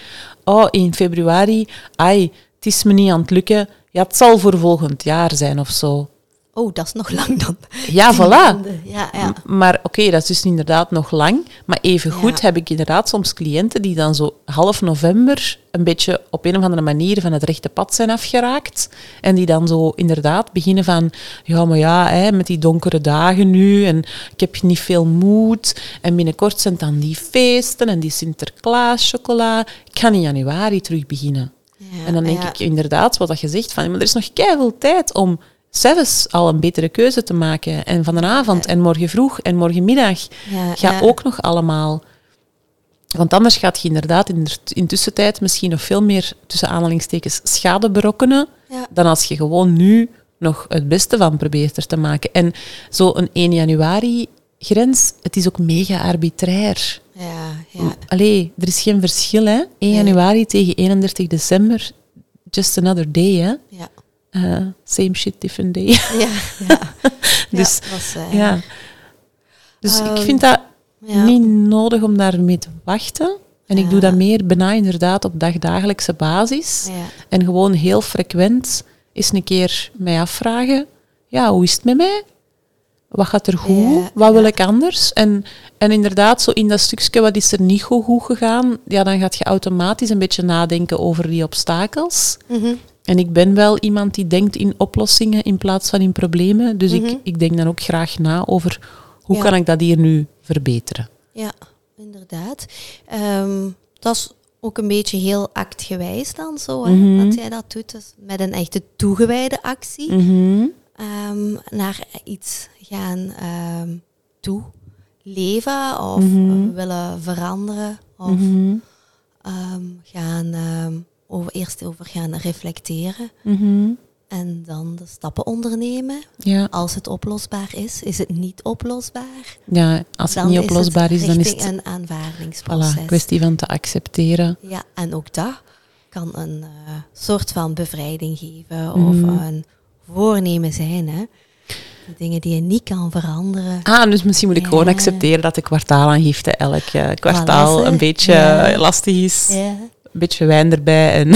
Speaker 3: oh, in februari, ai, het is me niet aan het lukken. Ja, het zal voor volgend jaar zijn of zo.
Speaker 1: Oh, dat is nog lang dan.
Speaker 3: Ja,
Speaker 1: Tien
Speaker 3: voilà.
Speaker 1: maanden. Ja, ja.
Speaker 3: M- Maar oké, dat is dus inderdaad nog lang. Maar evengoed
Speaker 1: Ja.
Speaker 3: heb ik inderdaad soms cliënten die dan zo half november een beetje op een of andere manier van het rechte pad zijn afgeraakt. En die dan zo inderdaad beginnen van, ja maar ja, hè, met die donkere dagen nu en ik heb niet veel moed. En binnenkort zijn het dan die feesten en die Sinterklaas chocola. Ik ga in januari terug beginnen.
Speaker 1: Ja,
Speaker 3: en dan denk
Speaker 1: ja.
Speaker 3: ik inderdaad wat dat je zegt, van, maar er is nog keihard tijd om zelfs al een betere keuze te maken. En van de avond en morgen vroeg en morgenmiddag.
Speaker 1: Ja,
Speaker 3: ga
Speaker 1: ja.
Speaker 3: ook nog allemaal. Want anders gaat je inderdaad in de in tussentijd misschien nog veel meer, tussen aanhalingstekens, schade berokkenen.
Speaker 1: Ja.
Speaker 3: Dan als je gewoon nu nog het beste van probeert er te maken. En zo'n 1 januari grens, het is ook mega arbitrair.
Speaker 1: Ja, ja.
Speaker 3: Allee, er is geen verschil, hè? 1 januari tegen 31 december. Just another day, hè?
Speaker 1: Ja,
Speaker 3: Eh, same shit, different day.
Speaker 1: ja. ja.
Speaker 3: dus
Speaker 1: Ja, was,
Speaker 3: ja.
Speaker 1: eh,
Speaker 3: Dus ik
Speaker 1: Ehm,
Speaker 3: vind dat
Speaker 1: ja.
Speaker 3: niet nodig om daarmee te wachten. En ik doe
Speaker 1: Ja.
Speaker 3: dat meer bijna inderdaad op dagdagelijkse basis.
Speaker 1: Ja.
Speaker 3: En gewoon heel frequent eens een keer mij afvragen. Ja, hoe is het met mij? Wat gaat er goed?
Speaker 1: Ja,
Speaker 3: Wat wil ik anders? En, en inderdaad, zo in dat stukje, wat is er niet goed, goed gegaan? Ja, dan gaat je automatisch een beetje nadenken over die obstakels.
Speaker 1: Mhm.
Speaker 3: En ik ben wel iemand die denkt in oplossingen in plaats van in problemen. Dus ik, ik denk dan ook graag na over hoe
Speaker 1: Mhm. Ja.
Speaker 3: kan ik dat hier nu verbeteren.
Speaker 1: Ja, inderdaad. Ehm, dat is ook een beetje heel actgewijs dan zo, hè,
Speaker 3: Mhm.
Speaker 1: dat jij dat doet. Dus met een echte toegewijde actie ehm, naar iets gaan ehm toe leven of
Speaker 3: Mhm.
Speaker 1: eh, willen veranderen of ehm, gaan ehm, over, eerst over gaan reflecteren en dan de stappen ondernemen.
Speaker 3: Mhm. Ja.
Speaker 1: Als het oplosbaar is, is het niet oplosbaar.
Speaker 3: ja, als het
Speaker 1: Dan
Speaker 3: niet oplosbaar is, dan is
Speaker 1: richting
Speaker 3: het
Speaker 1: een aanvaardingsproces.
Speaker 3: voilà, kwestie van te accepteren.
Speaker 1: Ja, en ook dat kan een eh, soort van bevrijding geven of een voornemen zijn. Hè? De dingen die je niet kan veranderen.
Speaker 3: Ah, dus misschien moet ik gewoon
Speaker 1: Ja.
Speaker 3: accepteren dat de kwartaalaangifte elk eh, kwartaal
Speaker 1: Voilà,
Speaker 3: een
Speaker 1: ze.
Speaker 3: beetje
Speaker 1: Ja.
Speaker 3: eh, lastig is.
Speaker 1: Ja,
Speaker 3: Een beetje wijn erbij. En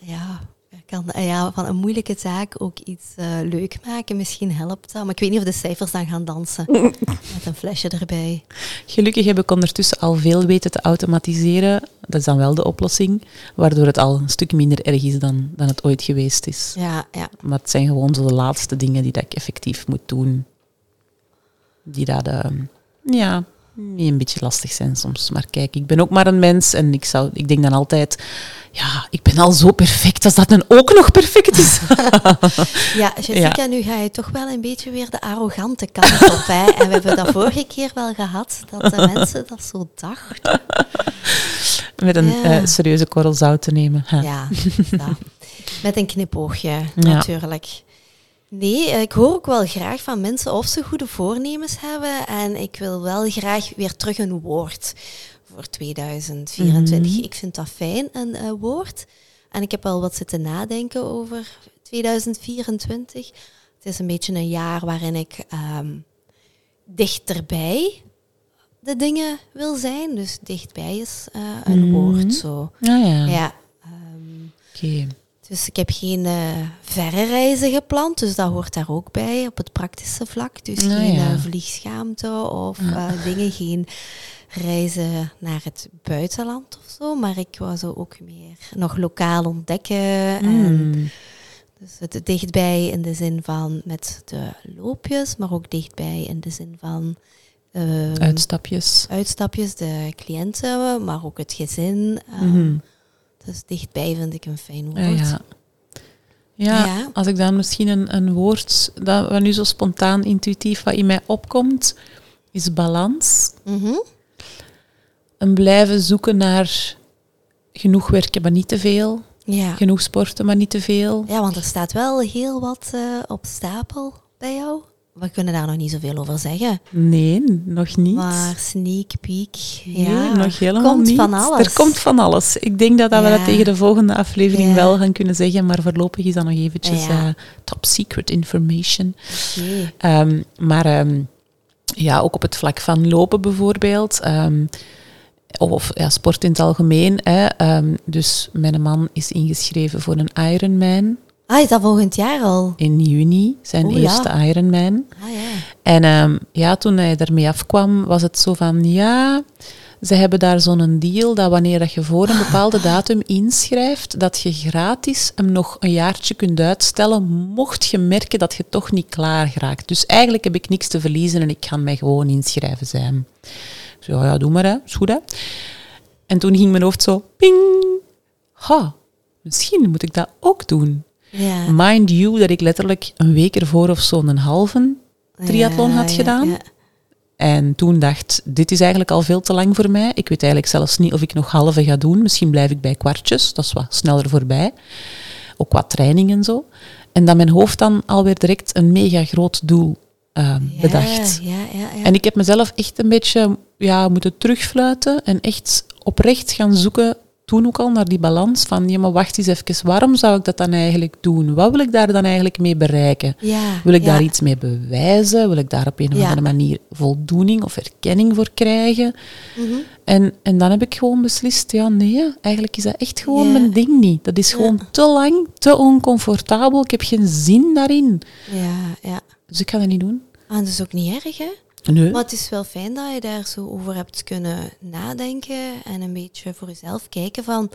Speaker 1: ja, er kan eh, ja, van een moeilijke zaak ook iets eh, leuk maken. Misschien helpt dat. Maar ik weet niet of de cijfers dan gaan dansen. Met een flesje erbij.
Speaker 3: gelukkig heb ik ondertussen al veel weten te automatiseren. Dat is dan wel de oplossing. Waardoor het al een stuk minder erg is dan, dan het ooit geweest is.
Speaker 1: Ja, ja.
Speaker 3: Maar het zijn gewoon zo de laatste dingen die dat ik effectief moet doen. Die dat, eh, ja, die een beetje lastig zijn soms. Maar kijk, ik ben ook maar een mens en ik, zou, ik denk dan altijd, ja, ik ben al zo perfect als dat dan ook nog perfect is.
Speaker 1: Ja, Jessica, nu ga je toch wel een beetje weer de arrogante kant op. Hè? En we hebben dat vorige keer wel gehad, dat de mensen dat zo dachten.
Speaker 3: Met een
Speaker 1: Ja.
Speaker 3: eh, serieuze korrel zout te nemen. Ha.
Speaker 1: Ja, ja. met een knipoogje,
Speaker 3: Ja.
Speaker 1: natuurlijk. Nee, eh, ik hoor ook wel graag van mensen of ze goede voornemens hebben. En ik wil wel graag weer terug een woord voor 2024. Ik vind dat fijn, een eh, woord. En ik heb wel wat zitten nadenken over 2024. Het is een beetje een jaar waarin ik ehm, dichterbij de dingen wil zijn. Dus dichtbij is eh, een woord zo.
Speaker 3: Ja, Ah, ja.
Speaker 1: Ja. ehm,
Speaker 3: Oké.
Speaker 1: dus ik heb geen eh, verre reizen gepland, dus dat hoort daar ook bij op het praktische vlak. Dus
Speaker 3: Nou
Speaker 1: geen
Speaker 3: ja.
Speaker 1: eh, vliegschaamte of eh, dingen, geen reizen naar het buitenland of zo. Maar ik wou zo ook meer nog lokaal ontdekken. En
Speaker 3: Mm.
Speaker 1: dus het dichtbij in de zin van met de loopjes, maar ook dichtbij in de zin van ehm,
Speaker 3: Uitstapjes.
Speaker 1: uitstapjes, de cliënten, maar ook het gezin. ehm,
Speaker 3: Mhm.
Speaker 1: dus dichtbij vind ik een fijn woord.
Speaker 3: Ja, ja. Ja,
Speaker 1: Ja.
Speaker 3: als ik dan misschien een, een woord dat wat nu zo spontaan, intuïtief wat in mij opkomt, is balans.
Speaker 1: Mhm.
Speaker 3: Een blijven zoeken naar genoeg werken, maar niet te veel.
Speaker 1: Ja.
Speaker 3: Genoeg sporten, maar niet te veel.
Speaker 1: ja, want er staat wel heel wat eh, op stapel bij jou. We kunnen daar nog niet zoveel over zeggen.
Speaker 3: Nee, nog niet.
Speaker 1: Maar sneak peek,
Speaker 3: Nee,
Speaker 1: ja,
Speaker 3: nog helemaal
Speaker 1: komt
Speaker 3: niet.
Speaker 1: van alles.
Speaker 3: Er komt van alles. Ik denk dat, dat we
Speaker 1: Ja.
Speaker 3: dat tegen de volgende aflevering
Speaker 1: Ja.
Speaker 3: wel gaan kunnen zeggen, maar voorlopig is dat nog eventjes
Speaker 1: Ja.
Speaker 3: eh, top secret information.
Speaker 1: Oké.
Speaker 3: Ehm, maar ehm, ja, ook op het vlak van lopen bijvoorbeeld. ehm, of ja, sport in het algemeen. Hè. Ehm, dus mijn man is ingeschreven voor een Ironman.
Speaker 1: Ah, is dat volgend jaar al?
Speaker 3: In juni, zijn
Speaker 1: Oeh, ja.
Speaker 3: eerste Ironman.
Speaker 1: Ah ja.
Speaker 3: En ehm, ja, toen hij daarmee afkwam, was het zo van, ja, ze hebben daar zo'n deal dat wanneer dat je voor een bepaalde datum inschrijft, dat je gratis hem nog een jaartje kunt uitstellen, mocht je merken dat je toch niet klaar raakt. Dus eigenlijk heb ik niks te verliezen en ik kan mij gewoon inschrijven zijn. Ik zei, "Oh ja, ja, doe maar, hè. is goed, hè. En toen ging mijn hoofd zo, ping, ha, misschien moet ik dat ook doen.
Speaker 1: ja.
Speaker 3: Mind you, dat ik letterlijk een week ervoor of zo een halve triathlon
Speaker 1: Ja,
Speaker 3: had
Speaker 1: ja,
Speaker 3: gedaan.
Speaker 1: ja.
Speaker 3: En toen dacht, dit is eigenlijk al veel te lang voor mij. Ik weet eigenlijk zelfs niet of ik nog halve ga doen. Misschien blijf ik bij kwartjes. Dat is wat sneller voorbij. Ook wat training en zo. En dat mijn hoofd dan alweer direct een mega groot doel eh, bedacht.
Speaker 1: Ja, ja, ja. ja.
Speaker 3: En ik heb mezelf echt een beetje ja, moeten terugfluiten en echt oprecht gaan zoeken, toen ook al, naar die balans van, ja maar wacht eens even, waarom zou ik dat dan eigenlijk doen? Wat wil ik daar dan eigenlijk mee bereiken?
Speaker 1: Ja,
Speaker 3: Wil ik
Speaker 1: ja.
Speaker 3: daar iets mee bewijzen? Wil ik daar op een of
Speaker 1: Ja.
Speaker 3: andere manier voldoening of erkenning voor krijgen?
Speaker 1: Mhm.
Speaker 3: En, en dan heb ik gewoon beslist, ja nee, eigenlijk is dat echt gewoon
Speaker 1: Ja.
Speaker 3: mijn ding niet. Dat is gewoon te lang, te oncomfortabel, ik heb geen zin daarin.
Speaker 1: ja, ja.
Speaker 3: Dus ik ga dat niet doen.
Speaker 1: Ah, dat is ook niet erg, hè?
Speaker 3: Nee.
Speaker 1: Maar het is wel fijn dat je daar zo over hebt kunnen nadenken en een beetje voor jezelf kijken van,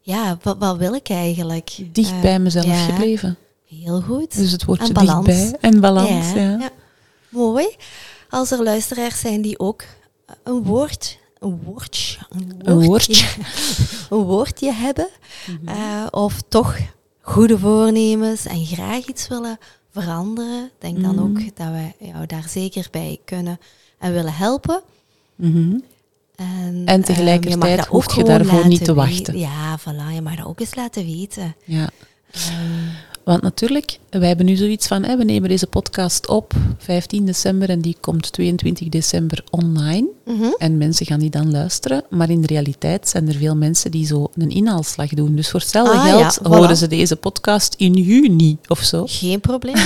Speaker 1: ja, wat, wat wil ik eigenlijk?
Speaker 3: Dicht
Speaker 1: Eh,
Speaker 3: bij mezelf
Speaker 1: ja,
Speaker 3: gebleven.
Speaker 1: Heel goed.
Speaker 3: Dus het
Speaker 1: En
Speaker 3: woordje
Speaker 1: balans.
Speaker 3: dichtbij en balans. Ja,
Speaker 1: Ja, ja. Mooi. Als er luisteraars zijn die ook een woord, een woordje, een woordje,
Speaker 3: Een woordje. Mhm.
Speaker 1: een woordje hebben, eh, of toch goede voornemens en graag iets willen veranderen, denk
Speaker 3: Mhm.
Speaker 1: dan ook dat we jou daar zeker bij kunnen en willen helpen.
Speaker 3: Mhm.
Speaker 1: En,
Speaker 3: En
Speaker 1: eh,
Speaker 3: tegelijkertijd
Speaker 1: je mag dat
Speaker 3: hoef
Speaker 1: ook
Speaker 3: je
Speaker 1: gewoon
Speaker 3: daarvoor
Speaker 1: laten
Speaker 3: niet te
Speaker 1: we-
Speaker 3: wachten.
Speaker 1: Ja, voilà, je mag dat ook eens laten weten.
Speaker 3: Ja. Want natuurlijk, wij hebben nu zoiets van, hè, we nemen deze podcast op 15 december en die komt 22 december online.
Speaker 1: Mhm.
Speaker 3: En mensen gaan die dan luisteren. Maar in de realiteit zijn er veel mensen die zo een inhaalslag doen. Dus voor hetzelfde
Speaker 1: Ah,
Speaker 3: geld
Speaker 1: ja, voilà.
Speaker 3: horen ze deze podcast in juni of zo.
Speaker 1: Geen probleem.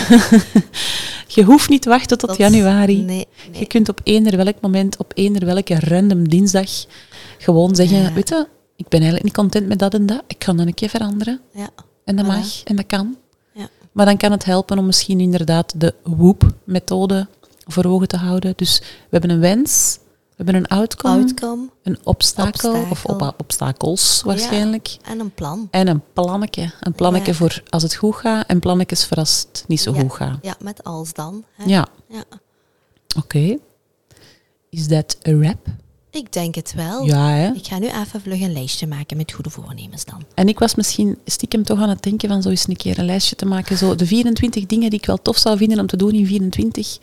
Speaker 3: Je hoeft niet te wachten tot
Speaker 1: Dat-
Speaker 3: januari.
Speaker 1: Nee, nee.
Speaker 3: Je kunt op eender welk moment, op eender welke random dinsdag, gewoon zeggen,
Speaker 1: Ja.
Speaker 3: weet je, ik ben eigenlijk niet content met dat en dat. Ik kan dan een keer veranderen.
Speaker 1: Ja.
Speaker 3: En dat
Speaker 1: Voilà.
Speaker 3: mag en dat kan.
Speaker 1: Ja.
Speaker 3: Maar dan kan het helpen om misschien inderdaad de WOOP-methode voor ogen te houden. Dus we hebben een wens, we hebben een outcome,
Speaker 1: Outcome
Speaker 3: een obstakel, of
Speaker 1: Obstakel.
Speaker 3: op- obstakels waarschijnlijk.
Speaker 1: en een plan.
Speaker 3: En een plannetje. Een plannetje
Speaker 1: Ja.
Speaker 3: voor als het goed gaat en plannetjes voor als het niet zo
Speaker 1: Ja.
Speaker 3: goed gaat.
Speaker 1: Ja, met als dan. Hè?
Speaker 3: Ja,
Speaker 1: Ja.
Speaker 3: oké. Is dat een wrap?
Speaker 1: Ik denk het wel.
Speaker 3: Ja, hè?
Speaker 1: Oh, Ik ga nu even vlug een lijstje maken met goede voornemens dan.
Speaker 3: En ik was misschien stiekem toch aan het denken van zo eens een keer een lijstje te maken. Zo de 24 dingen die ik wel tof zou vinden om te doen in 24.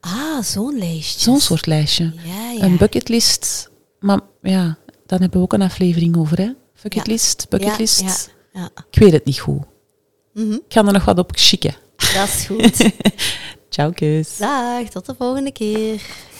Speaker 1: Ah, zo'n lijstje.
Speaker 3: Zo'n soort lijstje.
Speaker 1: Ja, ja.
Speaker 3: Een bucketlist. Maar ja, dan hebben we ook een aflevering over, hè? Bucketlist, bucketlist.
Speaker 1: Ja, ja, ja.
Speaker 3: Ik weet het niet goed.
Speaker 1: Mhm.
Speaker 3: Ik ga er nog wat op schikken.
Speaker 1: Dat is goed.
Speaker 3: Ciao, kus.
Speaker 1: Dag, tot de volgende keer.